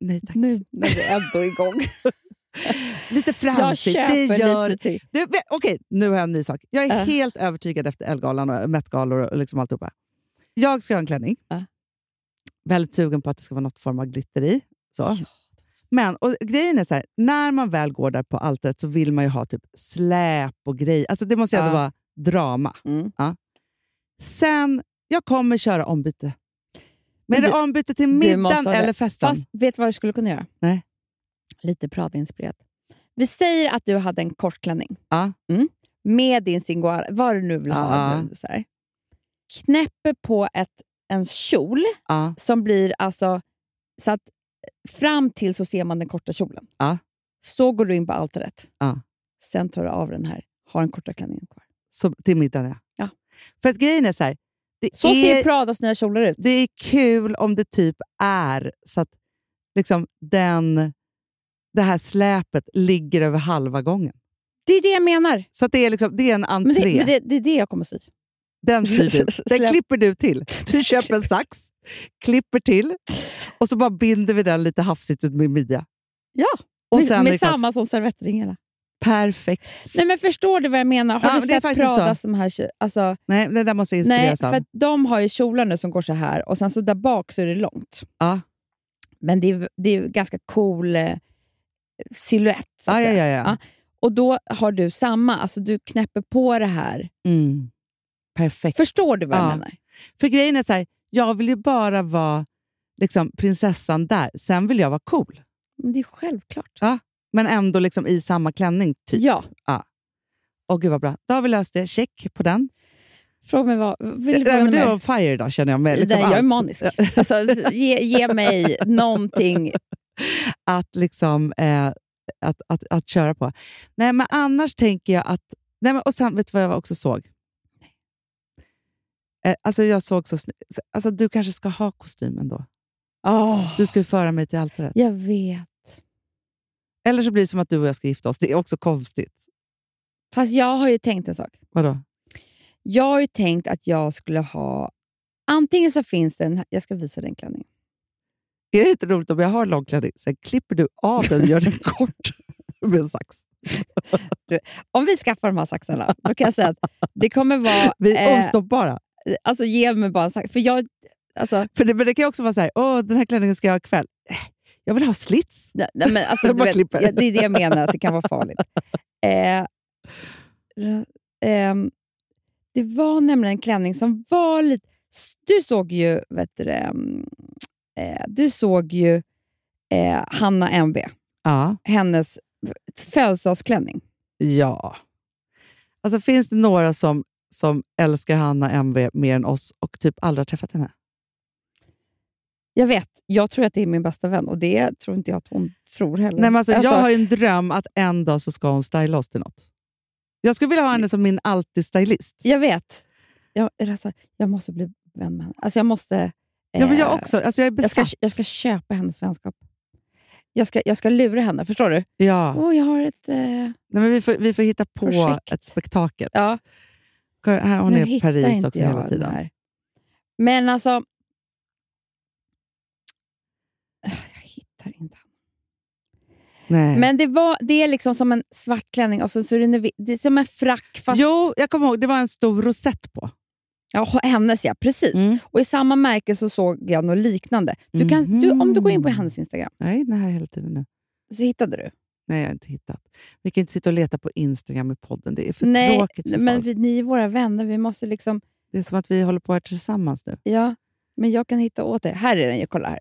Speaker 3: Nej tack.
Speaker 4: Nu när vi är ändå igång.
Speaker 3: Lite
Speaker 4: jag
Speaker 3: framsigt.
Speaker 4: köper
Speaker 3: Det gör...
Speaker 4: lite till.
Speaker 3: Du, vet- Okej, nu har jag en ny sak. Jag är
Speaker 4: Ja.
Speaker 3: helt övertygad efter Ellegalan och Met-galor och liksom alltihopa. Jag ska ha en klänning.
Speaker 4: Ja.
Speaker 3: Väldigt sugen på att det ska vara något form av glitter i. Så.
Speaker 4: Ja,
Speaker 3: Men och grejen är så här, när man väl går där på altaret så vill man ju ha typ släp och grej. Alltså Det måste ju ändå
Speaker 4: Ja.
Speaker 3: vara drama.
Speaker 4: Mm.
Speaker 3: Sen Jag kommer köra ombyte. Men
Speaker 4: Men
Speaker 3: är det
Speaker 4: du-
Speaker 3: ombyte till
Speaker 4: du måste
Speaker 3: middagen
Speaker 4: ha det.
Speaker 3: eller festen?
Speaker 4: Fast vet du vad du skulle kunna göra?
Speaker 3: Nej.
Speaker 4: Lite pratinspirerat. Vi säger att du hade en kort klänning.
Speaker 3: Ja.
Speaker 4: Mm. Med din singoara, vad du nu vill ha.
Speaker 3: Ja.
Speaker 4: Du, så här. Knäpper på ett, en kjol
Speaker 3: Ja.
Speaker 4: som blir alltså... Så att fram till så ser man den korta kjolen.
Speaker 3: Ja.
Speaker 4: Så går du in på altaret.
Speaker 3: Ja.
Speaker 4: Sen tar du av den här, har den korta klänningen kvar.
Speaker 3: Så, till middagen, ja.
Speaker 4: Ja.
Speaker 3: För att grejen är så här. Det
Speaker 4: Så
Speaker 3: är...
Speaker 4: ser Pradas nya kjolar ut.
Speaker 3: det är kul om det typ är så att liksom den, det här släpet ligger över halva gången.
Speaker 4: Det är det jag menar.
Speaker 3: Så att det, är liksom, det är en
Speaker 4: Men
Speaker 3: entré.
Speaker 4: det, men det, det är det jag kommer sy.
Speaker 3: Den syr du. Den
Speaker 4: Släp.
Speaker 3: klipper du till. Du köper en sax, klipper till och så bara binder vi den lite hafsigt ut med midja.
Speaker 4: Ja,
Speaker 3: och
Speaker 4: med,
Speaker 3: sen är det
Speaker 4: med
Speaker 3: klart.
Speaker 4: samma som servettringarna.
Speaker 3: Perfekt.
Speaker 4: Nej, men förstår du vad jag menar? Har
Speaker 3: Ja,
Speaker 4: du
Speaker 3: men det är
Speaker 4: sett
Speaker 3: faktiskt
Speaker 4: Prada
Speaker 3: så.
Speaker 4: som här tje- alltså,
Speaker 3: Nej, det där måste jag
Speaker 4: Nej,
Speaker 3: inspireras
Speaker 4: för
Speaker 3: av.
Speaker 4: att de har ju kjolar nu som går så här och sen så där bak så är det långt.
Speaker 3: Ja.
Speaker 4: Men det är, det är ju ganska cool eh, silhuett. så att
Speaker 3: Ja, ja,
Speaker 4: säga.
Speaker 3: ja, ja.
Speaker 4: Ja. Och då har du samma, alltså du knäpper på det här.
Speaker 3: Mm. Perfekt.
Speaker 4: Förstår du vad
Speaker 3: Ja.
Speaker 4: jag menar?
Speaker 3: För grejen är så här, jag vill ju bara vara liksom, prinsessan där. Sen vill jag vara cool.
Speaker 4: Men det är självklart.
Speaker 3: Men ändå liksom i samma klänning. Typ.
Speaker 4: Ja,
Speaker 3: Åh gud vad bra. Då har vi löst det. Check på den.
Speaker 4: fråga mig vad... Vill du
Speaker 3: Nej,
Speaker 4: fråga
Speaker 3: men
Speaker 4: mig
Speaker 3: du är
Speaker 4: mer?
Speaker 3: on fire idag känner jag. Med, liksom
Speaker 4: Nej, jag är
Speaker 3: allt.
Speaker 4: manisk. Alltså, ge, ge mig någonting.
Speaker 3: Att, liksom, eh, att, att, att köra på. Nej, men annars tänker jag att... Nej, men, och sen, vet du vad jag också såg? Eh, alltså jag såg så sny- alltså Du kanske ska ha kostymen då?
Speaker 4: Åh,
Speaker 3: Du ska ju föra mig till altaret.
Speaker 4: Jag vet.
Speaker 3: Eller så blir det som att du och jag ska gifta oss. Det är också konstigt.
Speaker 4: Fast jag har ju tänkt en sak.
Speaker 3: Vadå?
Speaker 4: Jag har ju tänkt att jag skulle ha... Antingen så finns det en... Jag ska visa den klänningen.
Speaker 3: Är det inte roligt om jag har lång klänning, sen klipper du av den och gör den kort med en sax?
Speaker 4: Om vi skaffar de här saxarna, då kan jag säga att det kommer vara...
Speaker 3: Vi är
Speaker 4: eh,
Speaker 3: ostoppbara.
Speaker 4: alltså ge mig bara en sax. För jag... Alltså,
Speaker 3: För det, men det kan ju också vara så här, åh, den här klänningen ska jag ha ikväll. Eh, Jag vill ha slits.
Speaker 4: nej, nej, men, alltså
Speaker 3: Jag
Speaker 4: du
Speaker 3: bara
Speaker 4: vet,
Speaker 3: klipper.
Speaker 4: ja, det är det jag menar, att det kan vara farligt. Eh, ra- ehm, det var nämligen en klänning som var lite... Du såg ju... Vet du, det, mm, eh, du såg ju eh, Hanna M.B.
Speaker 3: Ja.
Speaker 4: hennes födelsedagsklänning.
Speaker 3: ja. Alltså finns det några som, som älskar Hanna MV mer än oss och typ aldrig har träffat henne?
Speaker 4: Jag vet, jag tror att det är min bästa vän och det tror inte jag att hon tror heller.
Speaker 3: Nej, men alltså,
Speaker 4: Alltså,
Speaker 3: jag har ju en dröm att en dag så ska hon styla oss till något. Jag skulle vilja ha henne som min alltid-stylist.
Speaker 4: jag vet. Jag, alltså, jag måste bli vän med henne. Alltså, jag måste...
Speaker 3: Ja, men jag
Speaker 4: eh,
Speaker 3: också. Alltså, jag är
Speaker 4: Jag
Speaker 3: besatt.
Speaker 4: ska, jag ska köpa hennes vänskap. Jag ska, jag ska lura henne, förstår du?
Speaker 3: Ja.
Speaker 4: Åh, jag har ett... Eh,
Speaker 3: Nej, men vi, får, vi får hitta på
Speaker 4: Projekt.
Speaker 3: ett spektakel.
Speaker 4: ja,
Speaker 3: Kolla, Här, hon
Speaker 4: nu
Speaker 3: är i
Speaker 4: hittar
Speaker 3: Paris
Speaker 4: inte
Speaker 3: också
Speaker 4: jag
Speaker 3: hela
Speaker 4: den
Speaker 3: tiden.
Speaker 4: här. Men alltså... eh, Jag hittar inte
Speaker 3: Nej.
Speaker 4: Men det, var, det är liksom som en svart klänning och så, så är det, en- det är som en frack fast...
Speaker 3: Jo, jag kommer ihåg. Det var en stor rosett på.
Speaker 4: Ja, hennes ja, precis.
Speaker 3: Mm.
Speaker 4: Och i samma märke så såg jag något liknande. Du kan, du, om du går
Speaker 3: Mm.
Speaker 4: in på hennes Instagram
Speaker 3: Nej, den här hela tiden nu.
Speaker 4: så hittade du.
Speaker 3: Nej, jag har inte hittat. Vi kan inte sitta och leta på Instagram i podden. Det är för
Speaker 4: Nej,
Speaker 3: tråkigt för
Speaker 4: men
Speaker 3: folk.
Speaker 4: vi, ni är våra vänner. Vi måste liksom...
Speaker 3: Det är som att vi håller på här tillsammans nu.
Speaker 4: Ja, men jag kan hitta åt det. Här är den ju, kolla här.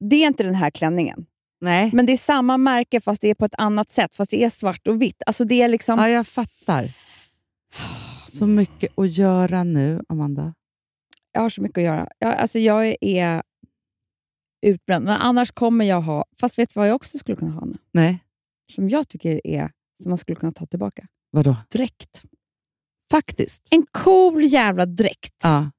Speaker 4: Det är inte den här klänningen,
Speaker 3: Nej.
Speaker 4: men det är samma märke fast det är på ett annat sätt. Fast det är svart och vitt. Alltså det är liksom...
Speaker 3: Ja, jag fattar. Så mycket att göra nu, Amanda.
Speaker 4: Jag har så mycket att göra. Jag, alltså jag är utbränd. Men annars kommer jag ha... Fast vet du vad jag också skulle kunna ha nu?
Speaker 3: Nej.
Speaker 4: Som jag tycker är... Som man skulle kunna ta tillbaka.
Speaker 3: Vadå?
Speaker 4: Dräkt.
Speaker 3: Faktiskt.
Speaker 4: En cool jävla dräkt.
Speaker 3: Ja.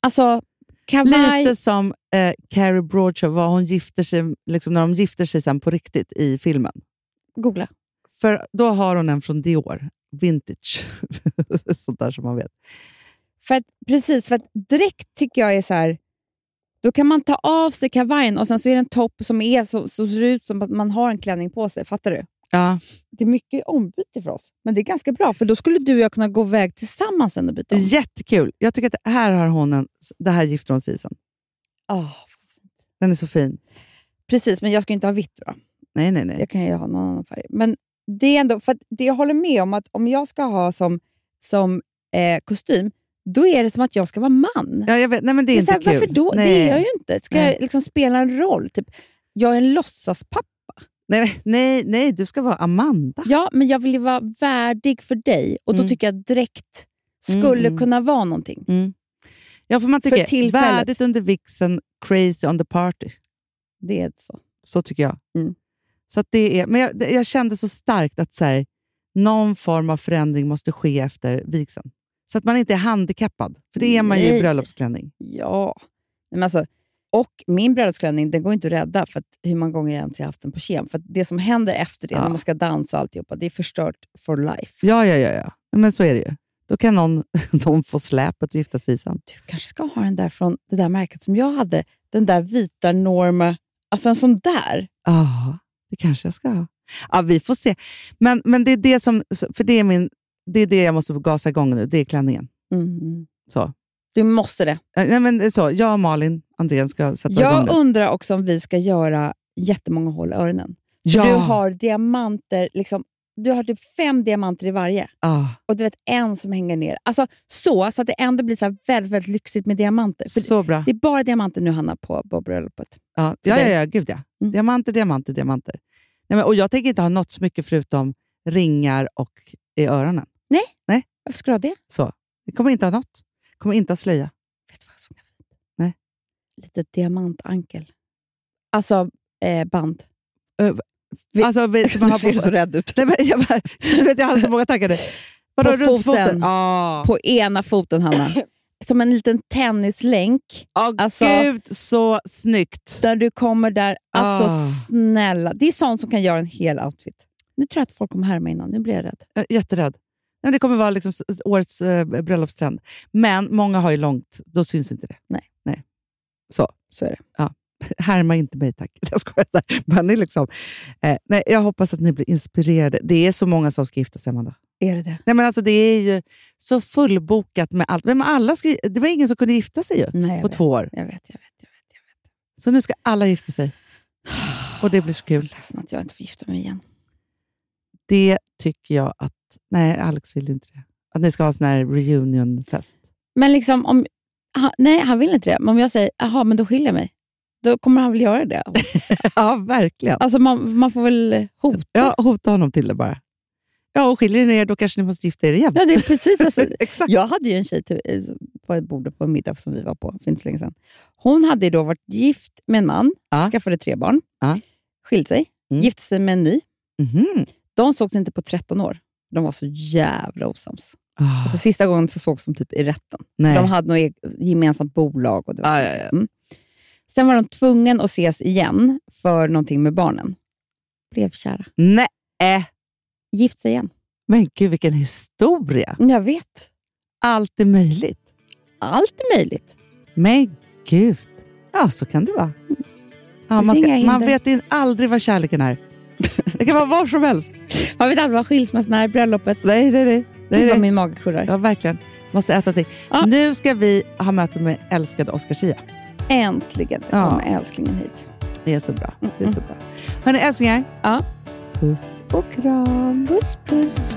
Speaker 4: Alltså, kavaj...
Speaker 3: Lite som eh, Carrie Bradshaw, vad hon gifter sig, liksom när de gifter sig sen på riktigt i filmen.
Speaker 4: Googla.
Speaker 3: För då har hon en från Dior, vintage. Sånt där som man vet.
Speaker 4: För att, precis, för att dräkt tycker jag är så här... Då kan man ta av sig kavajen och sen så är det en topp som är så, så ser det ut som att man har en klänning på sig. Fattar du?
Speaker 3: Ja.
Speaker 4: Det är mycket ombyte för oss, men det är ganska bra för då skulle du och jag kunna gå iväg tillsammans sen och byta om.
Speaker 3: Jättekul. Jag tycker att det här har hon en, det här gifter hon sig i sen.
Speaker 4: Ah,
Speaker 3: Den är så fin.
Speaker 4: precis, men jag ska ju inte ha vitt då.
Speaker 3: Nej, nej, nej.
Speaker 4: Jag kan ju ha någon annan färg. Men det är ändå, för att det jag håller med om att om jag ska ha som, som eh, kostym, då är det som att jag ska vara man.
Speaker 3: Ja, jag vet. Nej, men det är,
Speaker 4: Det är så
Speaker 3: inte
Speaker 4: här,
Speaker 3: kul.
Speaker 4: varför då?
Speaker 3: Nej.
Speaker 4: Det är jag ju inte. Ska
Speaker 3: Nej.
Speaker 4: jag liksom spela en roll? Typ, jag är en låtsaspappa.
Speaker 3: Nej, nej, nej, du ska vara Amanda.
Speaker 4: Ja, men jag vill ju vara värdig för dig och då
Speaker 3: Mm.
Speaker 4: tycker jag direkt skulle
Speaker 3: Mm.
Speaker 4: kunna vara någonting.
Speaker 3: Ja, för man
Speaker 4: För
Speaker 3: tycker
Speaker 4: tillfället.
Speaker 3: värdigt under vixen, crazy on the party.
Speaker 4: Det är så.
Speaker 3: Så tycker jag.
Speaker 4: Mm.
Speaker 3: Så att det är, men jag, det- jag kände så starkt att så här, någon form av förändring måste ske efter vigseln. Så att man inte är handikappad. För det är man ju i
Speaker 4: Nej.
Speaker 3: bröllopsklänning.
Speaker 4: Ja. Men alltså, och min bröllopsklänning den går inte att rädda för att hur många gånger jag ens har haft den på kem. För att det som händer efter det,
Speaker 3: Ja.
Speaker 4: när man ska dansa och alltihopa, det är förstört for life.
Speaker 3: Ja, ja, ja. ja. Nej, Men så är det ju. Då kan någon, någon få släpet och gifta sig sen.
Speaker 4: Du kanske ska ha den där från det där märket som jag hade. Den där vita Norma. Alltså en sån där.
Speaker 3: Ja, det kanske jag ska ha. Ja, vi får se. Men, men det är det som, för det är, min, det är det jag måste gasa igång nu. Det är klänningen. Så.
Speaker 4: Du måste det.
Speaker 3: Eh, Nej, men det är så. Jag och Malin Andrén ska sätta igång
Speaker 4: Jag
Speaker 3: det.
Speaker 4: undrar också om vi ska göra jättemånga hål i öronen. Så
Speaker 3: Ja.
Speaker 4: Du har diamanter, liksom, du har typ fem diamanter i varje.
Speaker 3: Ah,
Speaker 4: Och du vet en som hänger ner. Alltså så, så att det ändå blir så här väldigt, väldigt lyxigt med diamanter. För
Speaker 3: så bra.
Speaker 4: Det är bara diamanter nu Hanna på, på bröllopet.
Speaker 3: Ja, ja, ja,
Speaker 4: dig.
Speaker 3: ja, gud ja.
Speaker 4: Mm.
Speaker 3: Diamanter, diamanter, diamanter. Nej, men, och jag tänker inte ha något smycke förutom ringar och i öronen.
Speaker 4: Varför ska du ha det?
Speaker 3: Så. Jag kommer inte ha något. Jag kommer inte ha slöja.
Speaker 4: Vet du vad jag såg?
Speaker 3: Nej.
Speaker 4: Lite diamantankel. Alltså eh, band. Vi-
Speaker 3: Alltså, vi, som man har på,
Speaker 4: rädd ut.
Speaker 3: nej, men, jag, bara, du vet, jag hade så många tankar nu. Vadå,
Speaker 4: På
Speaker 3: runt foten?
Speaker 4: foten.
Speaker 3: Ah.
Speaker 4: På ena foten Hanna. Som en liten tennislänk.
Speaker 3: Ah,
Speaker 4: Alltså-
Speaker 3: Gud, så snyggt!
Speaker 4: Där du kommer där. Alltså
Speaker 3: Ah.
Speaker 4: snälla. Det är sånt som kan göra en hel outfit. Nu tror jag att folk kommer härma innan. Nu blir jag rädd.
Speaker 3: Jag är Eh, jätterädd. Nej, men Det kommer vara liksom s- s- årets eh, bröllopstrend. Men många har ju långt, då syns inte det.
Speaker 4: Nej.
Speaker 3: Nej. Så.
Speaker 4: Så är det.
Speaker 3: Härma inte mig tack. Jag skojar. Men det är liksom, eh, nej, jag hoppas att ni blir inspirerade. Det är så många som ska gifta sig, Amanda.
Speaker 4: Är det det?
Speaker 3: Nej, men alltså, det är ju så fullbokat med allt. Men alla ska, ju- det var ingen som kunde gifta sig ju
Speaker 4: Nej, jag
Speaker 3: på
Speaker 4: vet.
Speaker 3: två år.
Speaker 4: Jag vet, jag vet. Jag vet, jag vet.
Speaker 3: Så nu ska alla gifta sig. Och det blir så
Speaker 4: Jag är
Speaker 3: kul.
Speaker 4: så ledsen att jag inte får gifta mig igen.
Speaker 3: Det tycker jag att... Nej, Alex vill ju inte det. Att ni ska ha sån här reunionfest.
Speaker 4: Men liksom om... Han, nej, han vill inte det. Men om jag säger, jaha, men då skiljer jag mig. Då kommer han väl göra det.
Speaker 3: Ja, verkligen.
Speaker 4: Alltså man, man får väl hota.
Speaker 3: Ja, hota honom till det bara. Ja, och skiljer ni er då kanske ni måste gifta er igen.
Speaker 4: Ja, det är precis. Alltså,
Speaker 3: Exakt.
Speaker 4: jag hade ju en tjej till, eh, på ett bord på en middag som vi var på för inte så länge sedan. Hon hade ju då varit gift med en man,
Speaker 3: Ja.
Speaker 4: skaffade tre barn,
Speaker 3: Ja.
Speaker 4: skilt sig,
Speaker 3: Mm.
Speaker 4: gifte sig med en ny.
Speaker 3: Mhm.
Speaker 4: De sågs inte på 13 år. De var så jävla osams.
Speaker 3: Ah,
Speaker 4: Alltså, sista gången så sågs de typ i rätten.
Speaker 3: nej.
Speaker 4: De hade något e- gemensamt bolag. Och det var så.
Speaker 3: Ja, ja, ja.
Speaker 4: Mm. Sen var de tvungna att ses igen för någonting med barnen. Blev kära.
Speaker 3: nej. Äh.
Speaker 4: Gift sig igen. Mm,
Speaker 3: Men gud, vilken historia.
Speaker 4: Jag vet.
Speaker 3: Allt är möjligt.
Speaker 4: Allt är möjligt.
Speaker 3: Men gud. Ja, så kan det vara. Ja,
Speaker 4: Finns
Speaker 3: man, ska,
Speaker 4: inga
Speaker 3: man
Speaker 4: hinder.
Speaker 3: vet in, aldrig vad kärleken är. Det kan vara var som helst.
Speaker 4: Man vet aldrig vad skilsmässan är, bröllopet.
Speaker 3: Nej, nej, nej.
Speaker 4: Gud
Speaker 3: nej,
Speaker 4: vad
Speaker 3: nej.
Speaker 4: min mage kurrar.
Speaker 3: Ja, verkligen. Måste äta någonting.
Speaker 4: Ja.
Speaker 3: Nu ska vi ha möte med älskade Oscar Zia.
Speaker 4: Äntligen
Speaker 3: Ja.
Speaker 4: kom älsklingen hit.
Speaker 3: Det är så bra. Det är så
Speaker 4: Mm,
Speaker 3: bra. Hörni, älsklingar.
Speaker 4: Ja.
Speaker 3: Puss och kram.
Speaker 4: Puss, puss.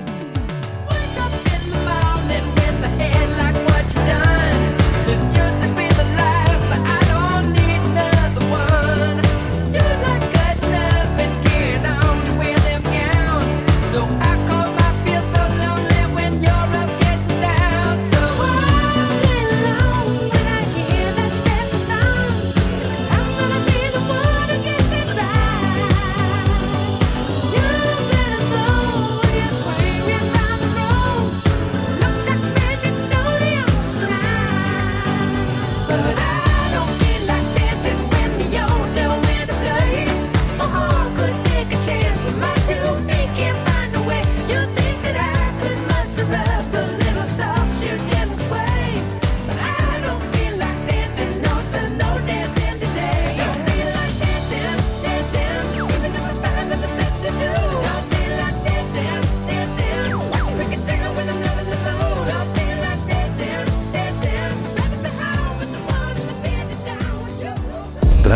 Speaker 9: Den